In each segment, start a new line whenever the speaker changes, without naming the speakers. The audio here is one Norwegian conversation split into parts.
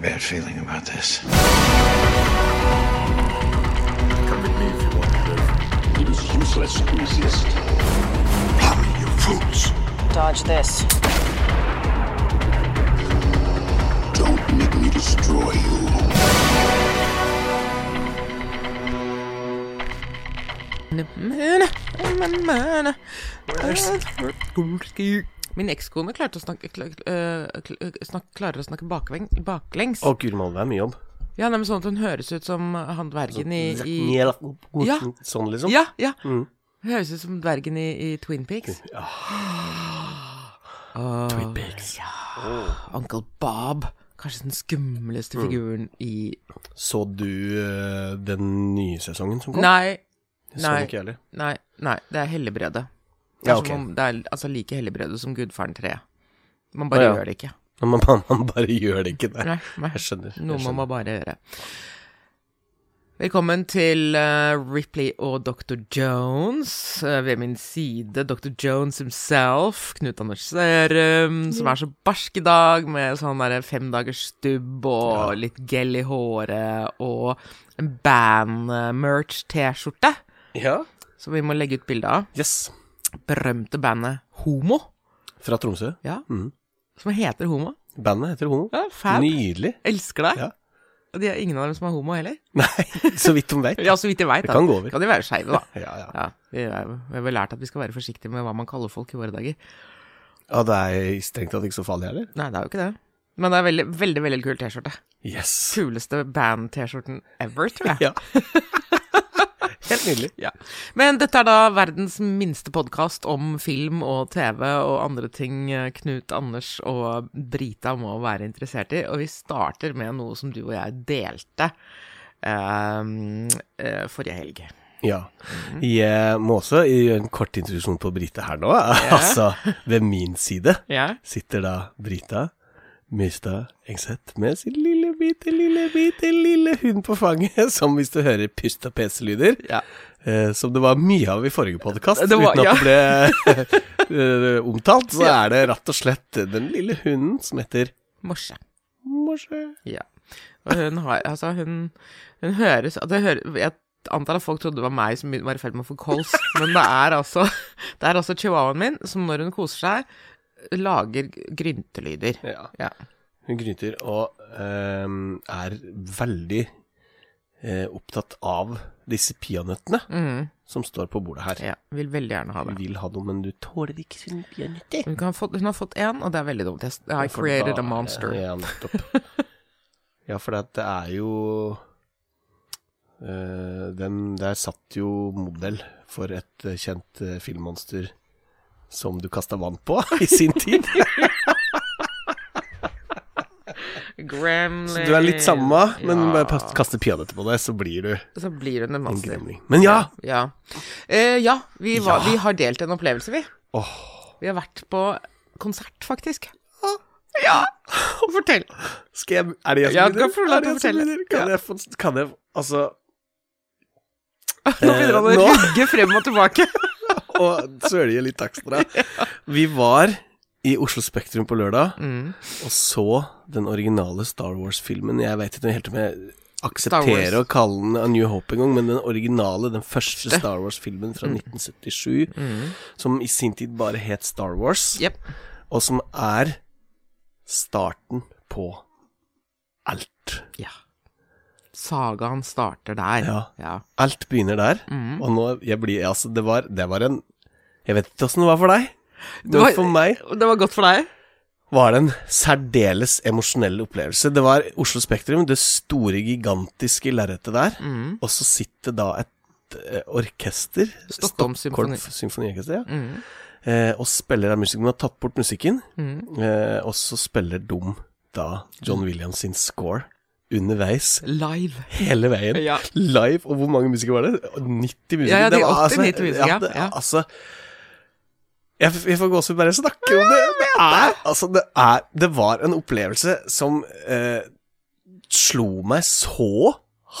bad feeling about this.
Come with me if you want to live. It is useless to resist. Hurry, you fools.
Dodge this.
Don't make me destroy you.
Min ekskone klarte å snakke, kla- øh, kl- øh, snak, klarer å snakke bakveng, baklengs.
Å, guri malla, det er mye jobb.
Ja, nei, men sånn at hun høres ut som han dvergen i, i Ja.
Ja. Sånn, liksom.
Ja, ja. Høres ut som dvergen i, i Twin Peaks. Ah.
Twin Peaks. Mm.
Uncle Bob. Kanskje den skumleste figuren i
Så du eh, den nye sesongen som kom?
Nei.
Jeg så den
Nei.
ikke heller.
Nei, nei, det er Helligbrødet. Det er,
Ja, ok.
som om det er altså, like Helligbrødet som Gudfaren 3. Man bare
Å, ja.
gjør det ikke.
Man, man, man bare gjør det ikke der.
Nei, nei.
Jeg skjønner.
Noe
jeg
må
skjønner.
man bare gjøre. Velkommen til eh, Ripley og Dr. Jones. Eh, ved min side Dr. Jones himself, Knut Anders Sørum, som er så barsk i dag, med sånn derre femdagers stubb og litt gel i håret og en band-merch-T-skjorte,
Ja.
som vi må legge ut bilde av.
Yes.
Berømte bandet Homo,
Fra Tromsø.
ja,
Mhm.
som heter Homo.
Bandet heter Homo.
Ja, fab.
Nydelig.
Elsker deg.
Ja.
Og de er ingen av dem som er homo heller.
Nei, så vidt de vet.
Ja, så vidt jeg veit.
Det kan gå over.
Kan de være skeive, da.
Ja, ja.
Ja, vi er- vi har vel lært at vi skal være forsiktige med hva man kaller folk i våre dager.
Ja, det er strengt tatt ikke så farlig heller.
Nei, det er jo ikke det. Men det er veldig, veldig veldig kul T-skjorte.
Yes.
Kuleste band-T-skjorten ever, tror jeg.
Ja. Helt nydelig.
Ja. Men dette er da verdens minste podkast om film og TV og andre ting eh, Knut, Anders og Brita må være interessert i. Og vi starter med noe som du og jeg delte eh, eh, forrige helg.
Ja.
Mhm.
Jeg må også gjøre en kort introduksjon på Brita her nå. altså, ved min side
Ja.
sitter da Brita Mystad Engseth med sin lille, bitte, lille, bitte lille hund på fanget, som hvis du hører pust og pes-lyder,
Ja.
eh, som det var mye av i forrige podkast,
Det var-
uten at det ble eh, omtalt, så er det rett og slett den lille hunden som heter
Morse.
Morse.
Ja. Og hun har Altså, hun, hun høres at jeg, hører, jeg antar at folk trodde det var meg som var i ferd med å få kols, men det er altså Det er altså chihuahuaen min som når hun koser seg, lager gryntelyder.
Ja.
Ja.
Hun gryter og ehm, er veldig eh, opptatt av disse peanøttene
Mm,
som står på bordet her.
ja. Vil veldig gjerne ha
Hun
det.
vil ha noe, men du tåler ikke sine peanøtter.
Hun, kan ha fått, hun har fått én, og det er veldig dumt. Jeg, I
For
created a
da-
monster.
Ja, nettopp. ja, for det, at det er jo eh, den, Der satt jo modell for et eh, kjent eh, filmmonster som du kasta vann på i sin tid.
Gremlin.
Så du er litt samme, men
Ja.
bare pas- kaster peanøtter på deg, så blir du
Så blir hun en
en
monster.
gremling. Men ja!
Ja. Eh, ja, vi var,
Ja.
vi har delt en opplevelse, vi.
Åh.
Vi har vært på konsert, faktisk. Ja! Fortell.
Skal jeg, er det jeg som
Ja, du
begynner?
kan få lov til
Er
å
det jeg som
fortelle.
begynner? Kan,
Ja.
jeg få, kan jeg Altså
Eh,
Eh,
Nå begynner han å
nå.
rugge frem og tilbake.
Og svelge litt ekstra. Vi var i Oslo Spektrum på lørdag
Mm.
og så den originale Star Wars-filmen. Jeg vet ikke helt om jeg
Star
aksepterer å
Wars.
kalle den A New Hope engang, men den originale, den første Star Wars-filmen
Mm.
fra 1977, som i sin tid bare het Star Wars,
Jepp.
og som er starten på alt.
Ja. Sagaen starter der.
Ja. Alt begynner der.
Mm.
Og nå jeg blir Altså, det var, det var en Jeg vet ikke åssen det var for deg,
Det,
men
var,
for meg
det var godt for deg.
var det en særdeles emosjonell opplevelse. Det var Oslo Spektrum, det store, gigantiske lerretet der.
Mm.
Og så sitter da et eh, orkester,
Stockholm Symfoni. Mm.
Symfoniorkester, ja, eh, og spiller av musikk. De har tatt bort musikken,
Mm.
eh, og så spiller de da John Williams sin score underveis.
Live.
Hele veien.
Ja.
Live. Og hvor mange musikere var det? 90 musikere.
Ja, ja, de
Det var
80-90 musikere,
det-
ja.
Altså jeg, f- jeg får gåsehud bare jeg snakker om det. Det er Altså, det er Det var en opplevelse som eh, slo meg så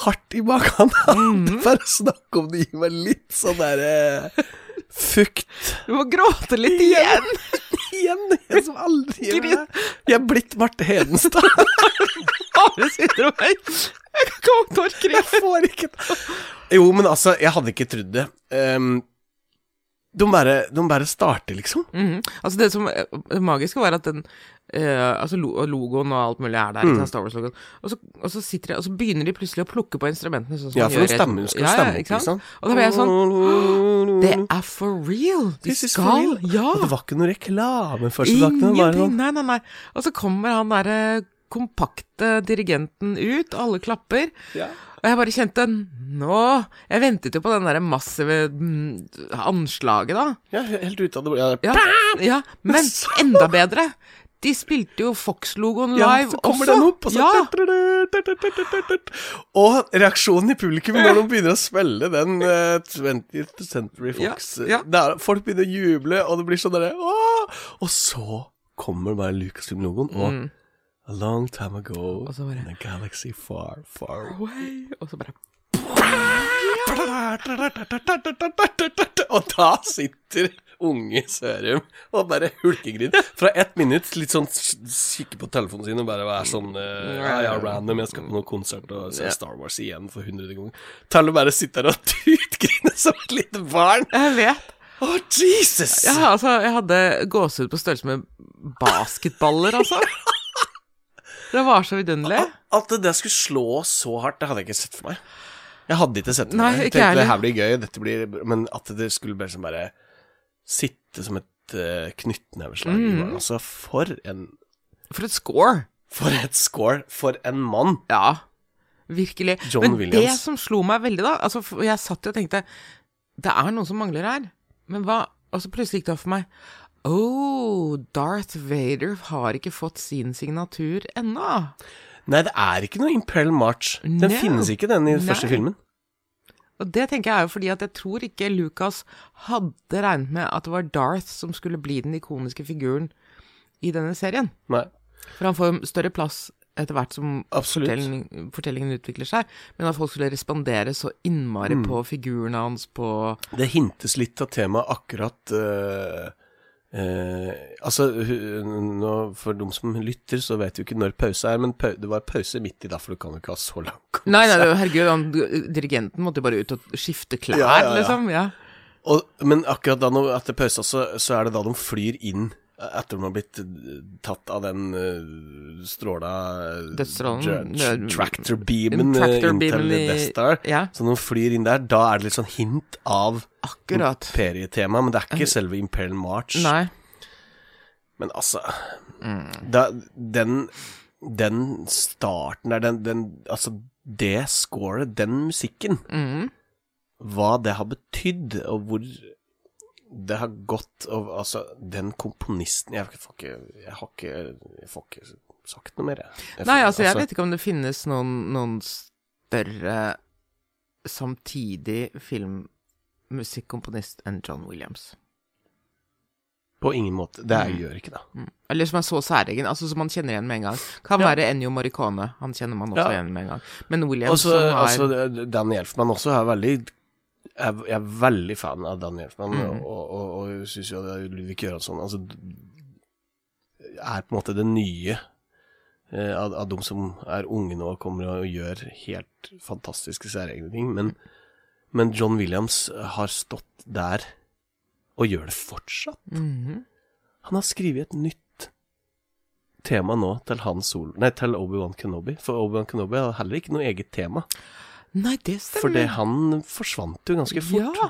hardt i magen.
Mhm.
bare snakke om det gir meg litt sånn derre fukt
Du må gråte litt igjen.
igjen. Jeg som aldri gjør det. Jeg er blitt Marte Hedenstad.
Har du andre vei. Jeg kan ikke våkne orker
Jeg får ikke Jo, men altså, jeg hadde ikke trodd det. Ehm, de, bare, de bare starter, liksom.
Altså Det som eh, det magiske var at den eh, Altså lo og logoen og alt mulig er der.
Mm.
ikke sant, Star Wars-logoen og, så- og så sitter de Og så begynner de plutselig å plukke på instrumentene. Sånn som
Ja,
de
for
gjør
nå
i-
stemmer hun. Skal
ja, ja,
stemme opp, liksom. ikke sant? Mm.
Og da ble jeg sånn Det er for real! De
This is for
skal
real.
Ja!
Og det var ikke noe reklame første dagen. Det var
Ingenting!
sånn
Nei, nei, nei. Og så kommer han derre kompakte dirigenten ut, og alle klapper.
ja.
Og jeg bare kjente Nå Jeg ventet jo på den derre massive mm, anslaget, da.
ja, helt ute av det blå. Ja,
Ja, ja, men enda bedre. De spilte jo Fox-logoen live
Ja,
også.
så kommer den opp, og så
ja.
Og reaksjonen i publikum når de begynner å spille den eh, 20th Century Fox
Ja, ja.
Det er- Folk begynner å juble, og det blir sånn derre «Åh!» Og så kommer bare Lucasfilm-logoen, og A long time ago
Mm. så bare-
in a galaxy far, far away.
Oi, Og så bare
Og da sitter unge Sørum og bare hulkegrin. Fra ett minutt litt sånn s- kikke på telefonen sin og bare være sånn eh, Ja, ja, random, jeg skal på noen konsert og se Star Wars igjen for hundrede ganger. Til å bare sitte her og tutgrine som et lite barn. Å,
Jeg vet.
Jesus!
Ja, altså, jeg hadde gåsehud på størrelse med basketballer, altså. Det var så vidunderlig.
At det skulle slå så hardt, det hadde jeg ikke sett for meg. Jeg hadde ikke sett det for
Nei,
meg. Jeg
ikke
tenkte det
heller.
her blir gøy, dette blir Men at det skulle bare, sånn bare sitte som et eh, knyttneveslag
Mm.
i hverandre. Altså, for en
For et score.
For et score! For en mann!
Ja, virkelig.
John
Men det
Williams.
som slo meg veldig, da altså, for Jeg satt jo og tenkte Det er noe som mangler her. Men hva Og så plutselig gikk det opp for meg Oh, Darth Vader har ikke fått sin signatur ennå.
Nei, det er ikke noe Imperial March. Den
No.
finnes ikke, den i
Nei.
første filmen.
Og det tenker jeg er jo fordi at jeg tror ikke Lucas hadde regnet med at det var Darth som skulle bli den ikoniske figuren i denne serien.
Nei,
For han får jo større plass etter hvert som
absolutt.
fortellingen, fortellingen utvikler seg, men at folk skulle respondere så innmari
Mm.
på figuren hans, på
Det hintes litt av temaet akkurat eh, eh, Altså, hu- nå, for de som lytter, så vet jo ikke når pause er, men pau det var pause midt i, derfor du kan jo ikke ha så lang konsert.
Nei, nei, det- herregud, han, dirigenten måtte jo bare ut og skifte klær,
Ja, ja, ja.
liksom. Ja.
Og, men akkurat da, nå- etter pausa, så, så er det da de flyr inn etter de har blitt eh, tatt av den eh, stråla eh,
Dødsstrålen,
dra-
nød-
Tractor-beamen eh,
Tractor
inn til
beamen i-
Death Star.
ja.
Så når de flyr inn der, da er det litt sånn hint av
Akkurat.
imperietema, men det er ikke selve Imperial March.
Nei.
Men altså
Mm.
da, Den Den starten der, den, den Altså, det scoret, den musikken
mm.
Hva det har betydd, og hvor det har gått og, Altså, den komponisten Jeg får ikke Jeg har ikke Jeg får ikke sagt noe mer, jeg. jeg.
Nei, altså, jeg vet ikke om det finnes noen, noen større samtidig filmmusikkomponist enn John Williams.
På ingen måte. Det
Mm.
er, gjør ikke det.
Eller som er så særegen, altså som man kjenner igjen med en gang. Kan være Ennio Morricone, han kjenner man også
Ja.
igjen med en gang. Men Williams
Og så
som er
altså, Dan Hjelfmann også er veldig Jeg, jeg er veldig fan av Dan Hjelfmann, og, og, og syns jo at Ludvig Göransson altså, er på en måte det nye eh, av, av de som er unge nå og kommer og gjør helt fantastiske særegne ting. Men, men John Williams har stått der og gjør det fortsatt.
Mhm.
Han har skrevet et nytt tema nå til, Han Solo- nei, til Obi-Wan Kenobi, for Obi-Wan Kenobi har heller ikke noe eget tema.
Nei, det stemmer.
For det, han forsvant jo ganske fort.
Ja.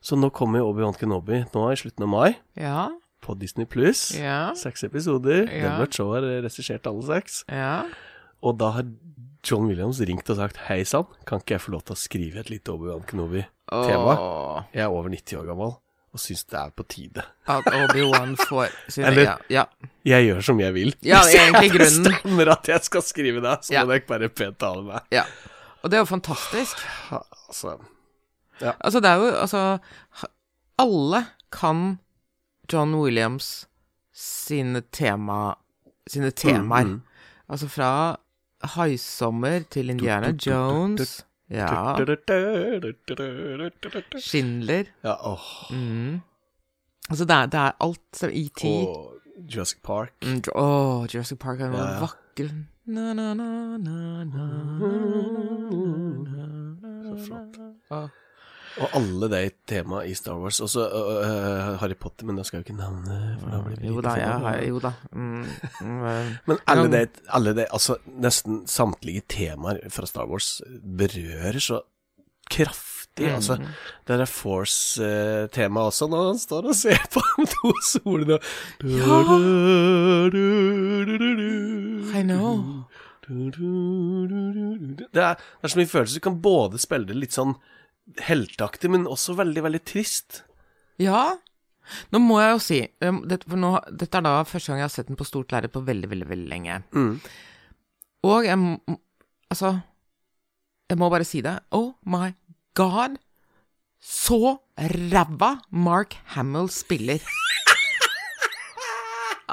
Så nå kommer jo Obi-Wan Kenobi nå i slutten av mai
Ja.
på Disney Pluss.
Ja.
Seks episoder.
Ja.
Delbert Shaw har regissert alle seks.
Ja.
Og da har John Williams ringt og sagt hei sann, kan ikke jeg få lov til å skrive et lite Obi-Wan Kenobi-tema?
Åh.
Jeg er over 90 år gammel og syns det er på tide.
At Obi-Wan får sine
Eller-
ja, ja.
Jeg gjør som jeg vil.
Ja, det er egentlig
jeg
grunnen.
bestemmer at jeg skal skrive det, så
Ja.
må dere bare pent ta det med.
ja. Og det er jo fantastisk.
Altså,
Altså, det er jo Altså, ha- alle kan John Williams sine tema
Mm,
Sine temaer. Altså fra 'Haisommer' til Indiana
Du, du, du, du,
Jones. Ja. Schindler.
Ja, åh.
Mm. Altså, det er, det er alt som ET.
Og Jurassic Park.
Mm, Ju- Åh, Jurassic Park er den
Ja, ja.
nøkkelen na, na, na, na, na, na, na, na,
Så flott.
na, na. Ah.
Og alle de temaene i Star Wars. Også øh, øh, Harry Potter, men da skal jeg jo ikke nevne for da blir det
Jo
like
da, jeg
forbanna.
har Jo da. Mm, mm, eh,
Men alle
Ja.
de, alle de Altså, nesten samtlige temaer fra Star Wars berører så kraftig.
Mm.
Altså, det der Force-temaet også, når han står og ser på de to solene
Ja.
Ja!
I know.
Det er, det er så mye følelser. Du kan både spille det litt sånn helteaktig, men også veldig, veldig trist.
Ja. Nå må jeg jo si um, dette, For nå, dette er da første gang jeg har sett den på stort lerret på veldig, veldig, veldig lenge.
Mm.
Og jeg må Altså Jeg må bare si det. Oh my god. Så ræva Mark Hamill spiller.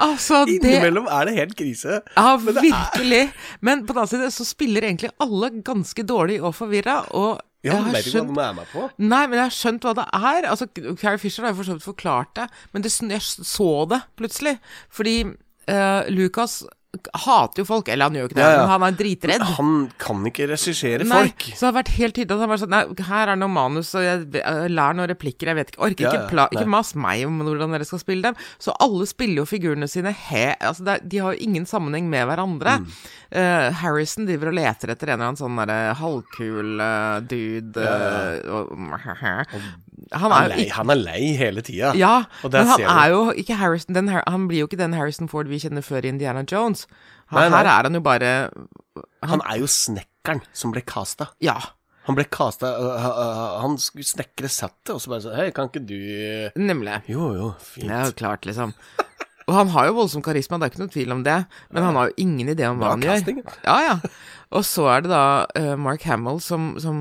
Altså, det
Innimellom er det helt krise.
Ja, virkelig. Men på den annen side så spiller egentlig alle ganske dårlig og forvirra, og
Ja,
jeg har
vet ikke hva
skjønt
de er med på.
Nei, men jeg har skjønt hva det er. Altså, Carrie Fisher har jo for så vidt forklart det, men det, sn- jeg s- så det plutselig. Fordi eh, Lucas hater jo folk, eller han gjør jo ikke det,
Ja, ja.
men han er dritredd.
Han kan ikke regissere
Nei,
folk.
så det har vært helt tydelig at han var sånn Nei, her er noe manus, og jeg v- eh, lær noen replikker, jeg vet ikke Orker
Ja,
ikke,
ja,
pla
nei.
ikke mas meg om hvordan dere skal spille dem. Så alle spiller jo figurene sine he Altså, det, er- de har jo ingen sammenheng med hverandre.
Mm.
Eh, Harrison driver og leter etter en eller annen sånn derre halvkul eh, dude eh, og, Han
Han
er
er
jo
lei,
ikke
han er lei hele tida.
ja,
Og der
men han
ser
er jo ikke Harrison den, Har- Han blir jo ikke den Harrison Ford vi kjenner før i Indiana Jones. Han,
Nei, nei.
Her er han jo bare
Han er jo snekkeren som ble casta.
Ja.
Han ble casta øh, øh, Han skulle snekre settet, og så bare sånn Hei, kan ikke du øh,
Nemlig.
Jo, jo, fint.
Det er jo klart, liksom. Og han har jo voldsom karisma, det er ikke noen tvil om det. Men han har jo ingen idé om hva
Bra
han gjør.
casting.
Ja, ja. Og så er det da eh, Mark Hamill som, som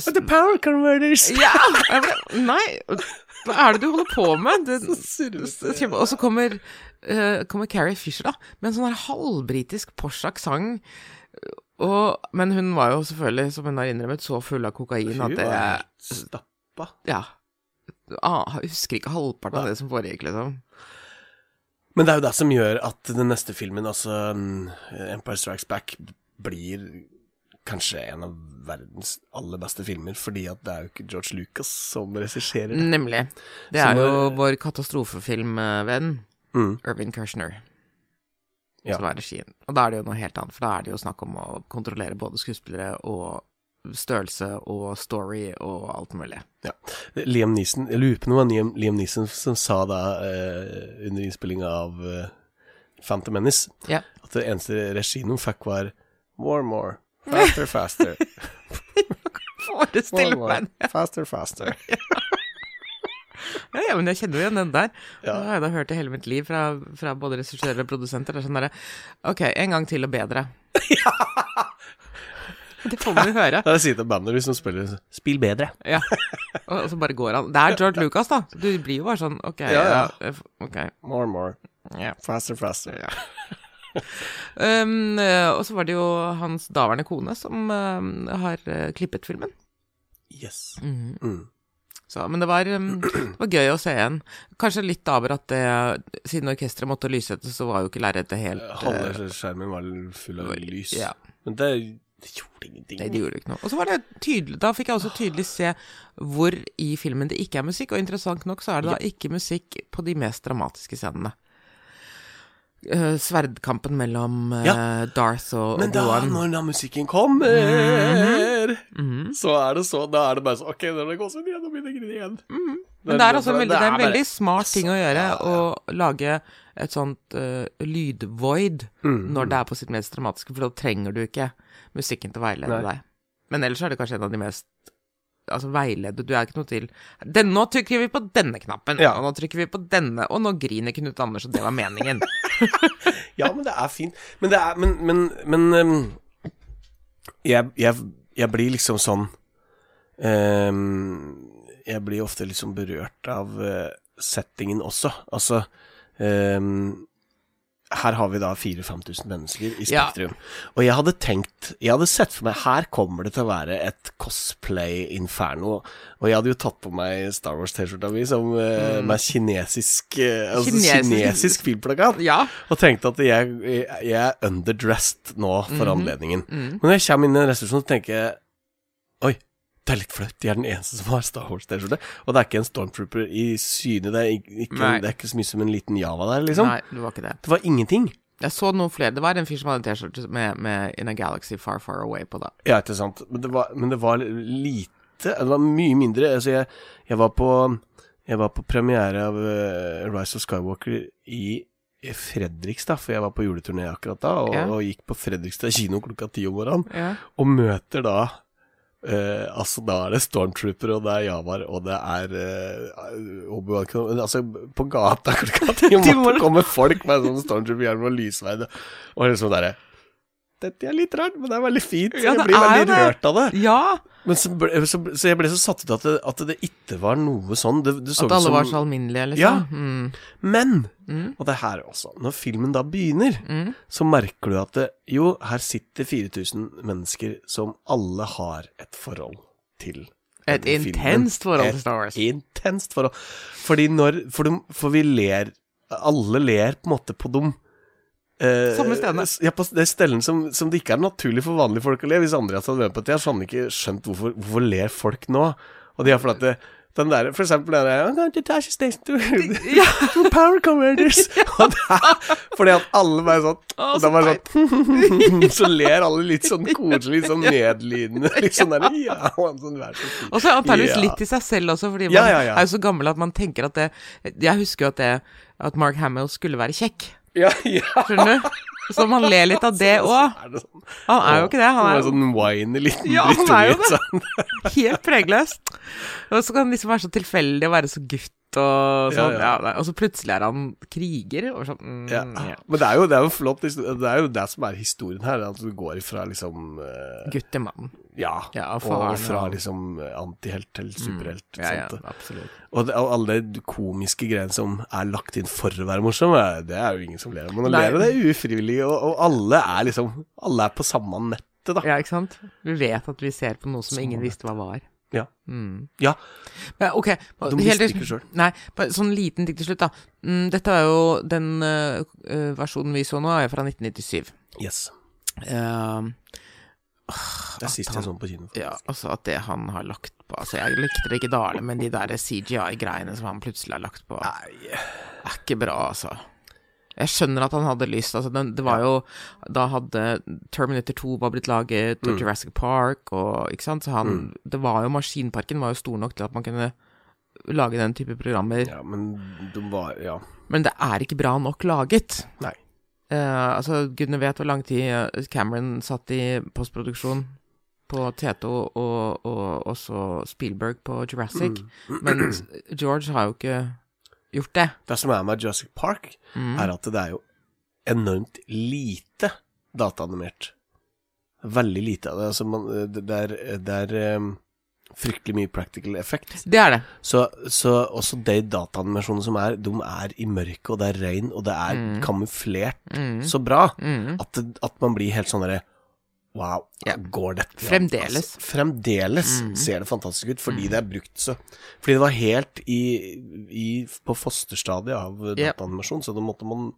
But The power converters!
Ja! jeg ble- Nei, hva er det du holder på med? Det,
surrete.
Kjempe- og så kommer, eh, kommer Carrie Fisher, da, med en sånn her halvbritisk Porsche-aksent. Og- Men hun var jo selvfølgelig, som hun har innrømmet, så full av kokain at
Hun
det
var helt stappa.
Ja. Ah, jeg husker ikke halvparten av det som foregikk, liksom.
Men det er jo det som gjør at den neste filmen, altså mm, Empire Strikes Back, blir kanskje en av verdens aller beste filmer, fordi at det er jo ikke George Lucas som regisserer det.
Nemlig. Det
Så
er
når-
jo vår katastrofefilmvenn
Mm.
Irvin Kershner
Ja.
som er regien. Og da er det jo noe helt annet, for da er det jo snakk om å kontrollere både skuespillere og størrelse og story og alt mulig.
Ja. Liam Neeson, jeg lurer på om det var Liam, Liam Neeson som sa da eh, under innspillinga av eh, Phantom Menace,
Ja.
at det eneste regien hun fikk, var More, more. Faster, faster. More,
Forestill
more.
meg det!
Faster, faster.
Ja, ja, men jeg kjenner jo igjen den der.
Ja.
Det har jeg da hørt i hele mitt liv fra, fra både regissører og produsenter. Det er sånn derre Ok, en gang til og bedre. Det får man jo høre.
Da sitter bandet hvis de spiller Spill bedre.
Ja. Og så bare går han. Det er George Lucas, da. Du blir jo bare sånn Ok.
Ja, ja.
ja, ok.
More, more.
Ja.
Faster, faster.
Um, eh, og så var det jo hans daværende kone som eh, har eh, klippet filmen.
Yes. Mm.
Så, men det var, um, det var gøy å se igjen. Kanskje litt daver at det, siden orkesteret måtte lyssette, så var jo ikke lerretet helt eh,
Halve skjermen var full av lys.
ja.
Men det, det gjorde ingenting.
Nei, det gjorde ikke noe. Og så var det tydelig, da fikk jeg også tydelig se hvor i filmen det ikke er musikk, og interessant nok så er det da ikke musikk på de mest dramatiske scenene. Eh, sverdkampen mellom eh,
Ja.
Darth og,
Men
og
da,
Gohan.
når den musikken kommer,
Mhm.
så er det så Da er det bare sånn Ok, nå er det gåsehud igjen, nå begynner jeg å grine igjen.
Mhm. Men det er altså en veldig,
det
det er en
bare- altså,
veldig smart ting å gjøre, å lage et sånt uh, lydvoid
Mm.
når det er på sitt mest dramatiske, for da trenger du ikke musikken til å veilede
Nei.
deg. Men ellers er det kanskje en av de mest Altså veilede, du er ikke noe til den, Nå trykker vi på denne knappen,
Ja.
og nå trykker vi på denne, og nå griner Knut Anders, og det var meningen.
Ja, men det er fint. Men det er Men, men, men ehm, jeg, jeg, jeg blir liksom sånn ehm, Jeg blir ofte liksom berørt av eh, settingen også. Altså ehm, her har vi da 4000-5000 mennesker i
Ja.
Spektrum. Og jeg hadde tenkt Jeg hadde sett for meg Her kommer det til å være et cosplay-inferno. Og jeg hadde jo tatt på meg Star Wars-T-skjorta mi som eh, med kinesisk eh, altså,
Mm. Kinesisk-
kinesisk. filmplakat.
Ja.
Og tenkte at jeg, jeg, jeg er underdressed nå for
Mhm.
anledningen.
Mm.
Men når jeg kommer inn i en restaurasjon, så tenker jeg Oi, det er litt flaut. Jeg er den eneste som har Star Wars-T-skjorte. Og det er ikke en Stormtrooper i syne. Det er ikke, ikke,
Nei.
det er ikke så mye som en liten Java der, liksom.
Nei, det var ikke det.
Det var ingenting.
Jeg så noen flere. Det var en fyr som hadde en T-skjorte med, med 'In a Galaxy Far Far Away' på, da.
Ja, ikke sant. Men det var, men det var lite Det var mye mindre. Altså, jeg, jeg var på Jeg var på premiere av eh, Rise of Skywalker i i Fredrikstad, for jeg var på juleturné akkurat da, og,
Ja.
og gikk på Fredrikstad kino klokka ti om morgenen.
Ja.
Og møter da eh, Altså, da er det Stormtrooper, og det er Javar, og det er eh, Obi-Wan Kenobi Altså, på gata klokka ti om morgenen kommer folk med sånn Stormtrooper-hjelm og lysverd, og liksom derre Dette er litt rart, men det er veldig fint.
Ja, det
jeg blir
er
veldig
det.
rørt av det.
ja.
Men så, ble, så, så jeg ble så satt ut at det, at det ikke var noe sånn. Det, det så
At
ut
alle
som
var så alminnelige, liksom.
Ja.
Mm.
Men!
Mm.
Og det her også. Når filmen da begynner,
Mm.
så merker du at det, jo, her sitter 4000 mennesker som alle har et forhold til.
Et
denne filmen.
intenst forhold til Star Wars.
Et intenst forhold. Fordi når For, de, for vi ler Alle ler på en måte på dem. eh,
Samme stedene.
s- Ja, på de stedene som, som det ikke er naturlig for vanlige folk å le. Hvis andre hadde vært på det, så hadde han ikke skjønt hvorfor, hvorfor ler folk nå. Og det er fordi at det, den der, for eksempel den der I'm going to touch a station to, to Power Commanders. Og det er fordi at alle bare sånn
Å,
Og
så
da bare sånn Så ler alle litt sånn koselig, litt sånn nedlydende. Litt sånn der Ja, og sånn, vær så snill.
Og så antageligvis
Ja.
litt til seg selv også, fordi man
Ja, ja, ja.
er jo så gammel at man tenker at det Jeg husker jo at det At Mark Hamill skulle være kjekk,
Ja, ja.
skjønner du? Så man ler litt av det òg.
Er det sånn?
Han er jo ikke det. Han er jo
sånn whiny liten
Ja, han er jo
drittunge. Sånn.
helt pregløs. Og så kan han liksom være så tilfeldig og være så gutt. Og, sånn,
Ja,
ja,
ja.
nei, og så plutselig er han kriger. Og sånn, mm,
Ja.
ja.
Men det er jo det er jo en flott historie. Det er jo det som er historien her. At du går ifra liksom eh,
Gutt til mann.
Ja,
Ja,
og,
faren
og fra
og- Mm.
liksom eh, antihelt til superhelt.
Ja, ja,
sant?
absolutt.
Og, det, og alle de komiske greiene som er lagt inn for å være morsom, eh, det er jo ingen som ler av. Men å
Nei.
ler av det er ufrivillig, og, og alle er liksom Alle er på samme nettet, da.
Ja, ikke sant? Vi vet at vi ser på noe som ingen visste hva var.
Sånn Ja.
Mm.
Ja.
Men, ok,
De
helt-
visste ikke selv.
Nei, bare sånn liten ting til slutt, da. Mm, dette er jo den øh, øh, versjonen vi så nå, er fra 1997.
Yes.
Ehm,
Det er sist jeg så den på kino.
ja, altså at det han har lagt på Altså, jeg likte det ikke dårlig, men de der CGI-greiene som han plutselig har lagt på
Nei.
er ikke bra, altså. Jeg skjønner at han hadde lyst. Altså, den, det var jo Da hadde Terminator 2 var blitt laget, og Jurassic Park og Ikke sant? Så han Det var jo Maskinparken var jo stor nok til at man kunne lage den type programmer.
Ja, men de var Ja.
Men det er ikke bra nok laget.
Nei.
Eh, altså, gudene vet hvor lang tid eh, Cameron satt i postproduksjon på Teto, og, og også Spielberg på Jurassic.
Mm.
Men George har jo ikke gjort det.
Det som er med Jurassic Park, er at det er jo enormt lite dataanimert. Veldig lite av det. Altså man, det, det er, det er em, fryktelig mye practical effect.
Det er det.
Så, så også de dataanimasjonene som er, de er i mørket, og det er regn, og det er kamuflert
Mm,
så bra at, det, at man blir helt sånn derre Wow,
Ja.
går dette an?
Fremdeles. Mm.
Altså, fremdeles ser det fantastisk ut, fordi det er brukt så Fordi det var helt i, i på fosterstadiet av
Ja.
dataanimasjon, så da måtte man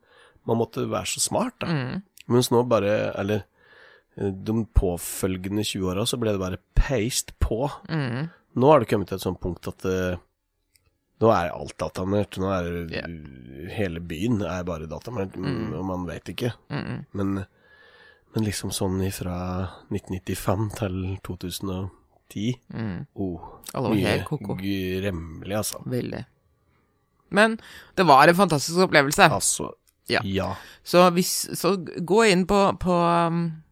Man måtte være så smart, da.
Mm.
Mens nå bare Eller eh, de påfølgende 20 åra så ble det bare paste på.
mm,
Nå har det kommet til et sånt punkt at eh, nå er alt datamert. Nå er det- hele byen er bare datamert,
Mm.
m- og man vet ikke. Men, men liksom sånn ifra 1995 til 2010 oh,
Mm. Alle var helt koko.
gremmelig, altså.
Veldig. Men det var en fantastisk opplevelse.
Altså,
Ja.
ja.
Så, hvis, så gå inn på, på um,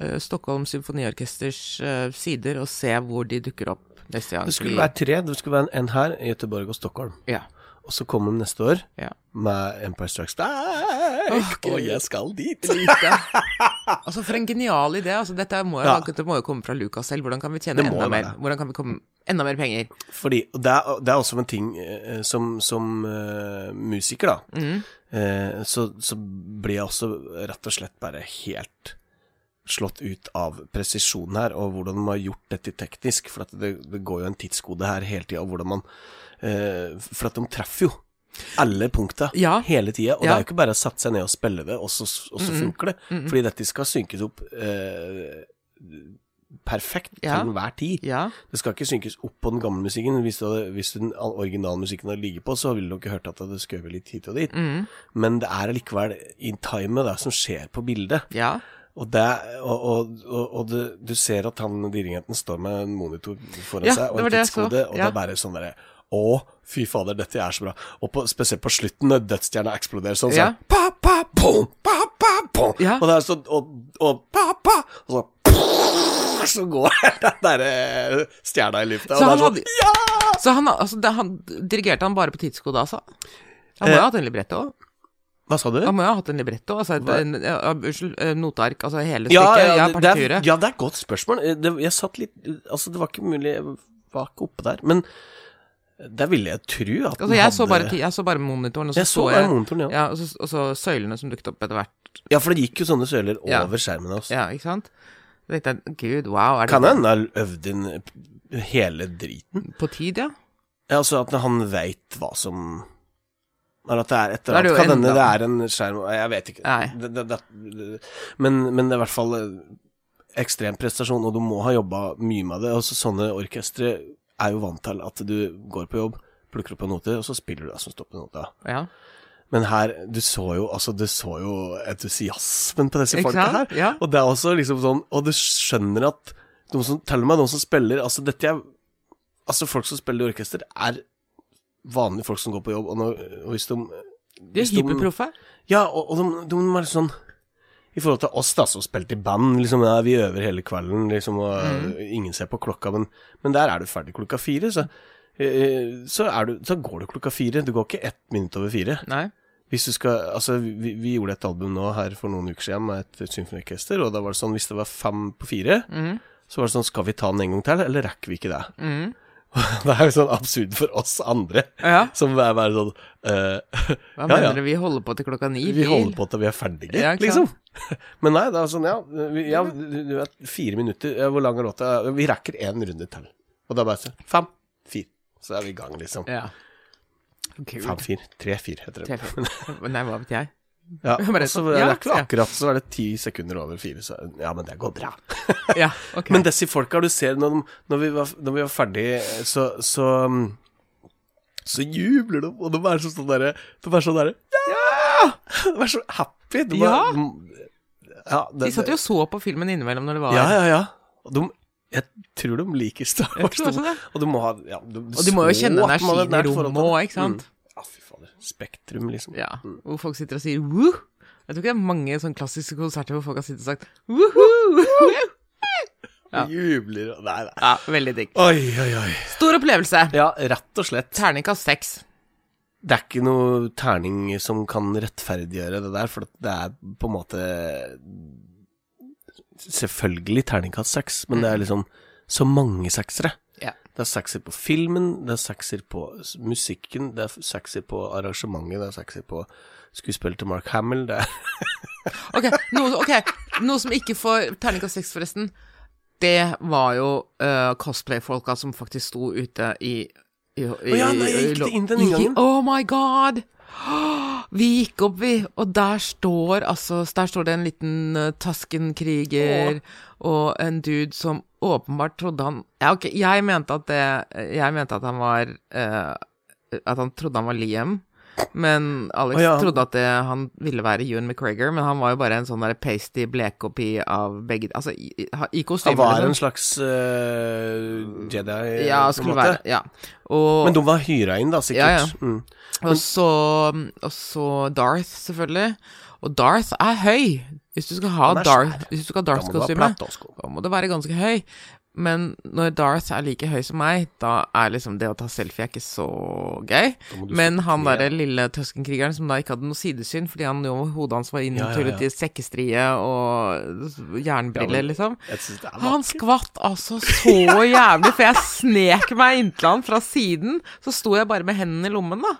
eh, Stockholm Symfoniorkesters eh, sider og se hvor de dukker opp neste gang.
Det skulle
Vi-
være tre. Det skulle være en- en her, i Göteborg og Stockholm.
Ja.
Og så kommer de neste år
Ja.
med Empire Strikes Back. Og
gud.
jeg skal dit.
Lite. Altså, for en genial idé. Altså, dette må jo,
Ja.
dette må jo komme fra Lucas selv. Hvordan kan vi tjene
Det må
enda
være
mer?
det.
Hvordan kan vi komme enda mer penger?
Fordi det er, det er også en ting eh, som, som eh, musiker, da.
Mm.
eh, så, så blir jeg også rett og slett bare helt slått ut av presisjonen her, og hvordan de har gjort dette teknisk. For at det, det går jo en tidskode her hele tida, og hvordan man eh, For at de treffer jo alle punkta
Ja.
hele tida. Og det
Ja.
er jo ikke bare å sette seg ned og spille det, og så, og så funker det. Fordi dette skal synkes opp eh, perfekt
Ja.
til enhver tid.
Ja.
Det skal ikke synkes opp på den gamle musikken. Hvis, det hadde, hvis den originalmusikken hadde ligget på, så ville du nok hørt at det skjøvet litt hit og dit. Men det er allikevel in time, det som skjer på bildet.
Ja.
Og, det, og, og, og, og du, du ser at han dirigenten står med en monitor foran
Ja,
seg
det
og
var
en
det jeg så,
tidskode, og det
ja.
er bare sånn derre Å, fy fader, dette er så bra. Og på, spesielt på slutten, når dødsstjerna eksploderer sånn,
Ja.
så pa, pa, pom, pa, pa, pom.
Ja.
Og det er sånn Og, og pa, pa, og så så går den derre stjerna i lufta,
Så
og det
han
er sånn
hadde Så han, altså, det, han dirigerte han bare på tidskode, altså? Han
Eh.
må jo ha hatt en libretto òg.
Hva sa du?
Han må jo ha hatt en libretto, altså et,
Hva?
en, ja, unnskyld, eh, noteark, altså hele
Ja,
stykket, ja,
ja, det, det er,
partituret.
ja, det er et godt spørsmål. Eh, Det, jeg satt litt Altså, det var ikke mulig Jeg var ikke oppe der. Men der ville jeg tro at
Altså, jeg, så bare, ti- jeg så bare monitoren, og så
Jeg så bare monitoren, ja. ja.
ja, og, så, og så søylene som dukket opp etter hvert.
for det gikk jo sånne søyler
Ja.
over skjermen også.
Ja, ikke sant? Da tenkte jeg, gud, wow, er det
Kan hende han øvd inn hele driten.
på tid, ja?
Ja, altså at han veit hva som Eller at det er et
Da er
eller
det
annet.
jo
Kan hende
enda-
det er en skjerm Jeg vet ikke.
Nei.
Det, det, det, men, men det er i hvert fall eh, ekstrem prestasjon, og du må ha jobba mye med det. Altså, sånne orkestre er jo vant til at du går på jobb, plukker opp en note, og så spiller du det som står på nota.
ja.
Men her, du så jo altså, du så jo entusiasmen på disse
Ikke
folka her.
sant? Ja.
Og det er også liksom sånn Og du skjønner at de som, Til og med de som spiller Altså, dette er Altså, folk som spiller i orkester, er vanlige folk som går på jobb, og, når, og hvis de
De er
hvis de-
hyperproffe.
Ja, og, og de, de var litt sånn I forhold til oss, da, som spilte i band, liksom ja, Vi øver hele kvelden, liksom, og øh, ingen ser på klokka, men, men der er du ferdig klokka fire, så øh, så, er du, så går du klokka fire. Du går ikke ett minutt over fire.
Nei.
Hvis du skal, altså vi, vi gjorde et album nå her for noen uker siden med et symfoniorkester, og da var det sånn, hvis det var fem på fire,
Mhm.
så var det sånn, skal vi ta den en gang til, eller rekker vi ikke det? Det er jo sånn absurd for oss andre,
Ja.
som er bare sånn, eh,
Hva
ja,
mener
ja,
du, vi holder på til klokka ni?
vi holder på til vi er ferdige,
Ja, ikke
liksom.
sant?
Men nei, det er sånn, ja, vi, ja du, du vet, fire minutter, ja, hvor lang er låta? Ja, Vi rekker en runde til, og da bare sånn, fem, fire, så er vi i gang, liksom.
Ja. Gud.
Fem, fire, tre, fire, heter det.
Tre, Nei, hva vet jeg.
Ja,
Bare
og så
sånn,
er det
ja,
akkurat,
ja.
akkurat så er det ti sekunder over fire, så ja, men det går bra.
Ja, ok.
Men disse folka du ser når, de, når, vi, var, når vi var ferdig, så, så um, Så jubler de, og de er så sånn derre De er sånn derre Ja! De er så happy. De er-
Ja.
de- ja det,
de satt jo og så på filmen innimellom når det var
Ja, ja, ja. Og de jeg tror de liker Star
Jeg
Wars.
tror også det.
Og du må ha ja, du,
Og de må jo
så
kjenne
at de hadde
energien i
et nært forhold til
rommet
det.
òg, ikke sant?
Mm. Ja, fy fader. Spektrum, liksom.
Ja, hvor folk sitter og sier woo. Jeg tror ikke det er mange sånne klassiske konserter hvor folk har sittet og sagt woohoo. Ja.
Jubler og Nei, nei.
Ja, veldig digg.
Oi, oi, oi.
Stor opplevelse.
Ja, rett og slett.
Terningkast seks.
Det er ikke noe terning som kan rettferdiggjøre det der, for at det er på en måte Selvfølgelig terningkast seks, men det
Mm.
er liksom så mange seksere.
Ja.
Det er sekser på filmen, det er sekser på s- musikken, det er sekser på arrangementet, det er sekser på skuespillet til Mark Hamill, det er
Ok, noe, ok, noe som ikke får terningkast seks, forresten. Det var jo eh, cosplay-folka som faktisk sto ute i i- i-
Å ja, nei, jeg
i- i-
gikk ikke inn den
Gikk
inngangen.
Oh my god! Vi gikk opp, vi, og der står altså Der står det en liten eh, Tasken-kriger og en dude som åpenbart trodde han Ja, ok, jeg mente at det Jeg mente at han var eh, At han trodde han var Liam. Men Alex
Å, ja.
trodde at det, han ville være Ewan McGregor, men han var jo bare en sånn der pasty blekkopi av begge Altså, i, i, i
Han
kostyme.
var en
liksom.
slags eh, Jedi,
Ja,
på en
skulle
måte.
være Ja. Og,
Men de var hyra inn, da, sikkert.
Ja, ja.
Mm.
og, så, og så Darth, selvfølgelig. Og Darth er høy! Hvis du skal ha
Han er
Darth,
svær.
hvis du skal ha
Da må det være
Darth-kostyme,
platåsko.
da må det være ganske høy. Men når Darth er like høy som meg, da er liksom det å ta selfie er ikke så så gøy. Men han derre lille tøskenkrigeren som da ikke hadde noe sidesyn, fordi han jo hodet hans var
Ja, ja, ja.
inntullet i sekkestrie og
Ja,
jernbriller,
men-
liksom.
Jeg synes det er
Han
vakkert.
skvatt altså så jævlig, for jeg snek meg inntil han fra siden. Så sto jeg bare med hendene i lommen, da.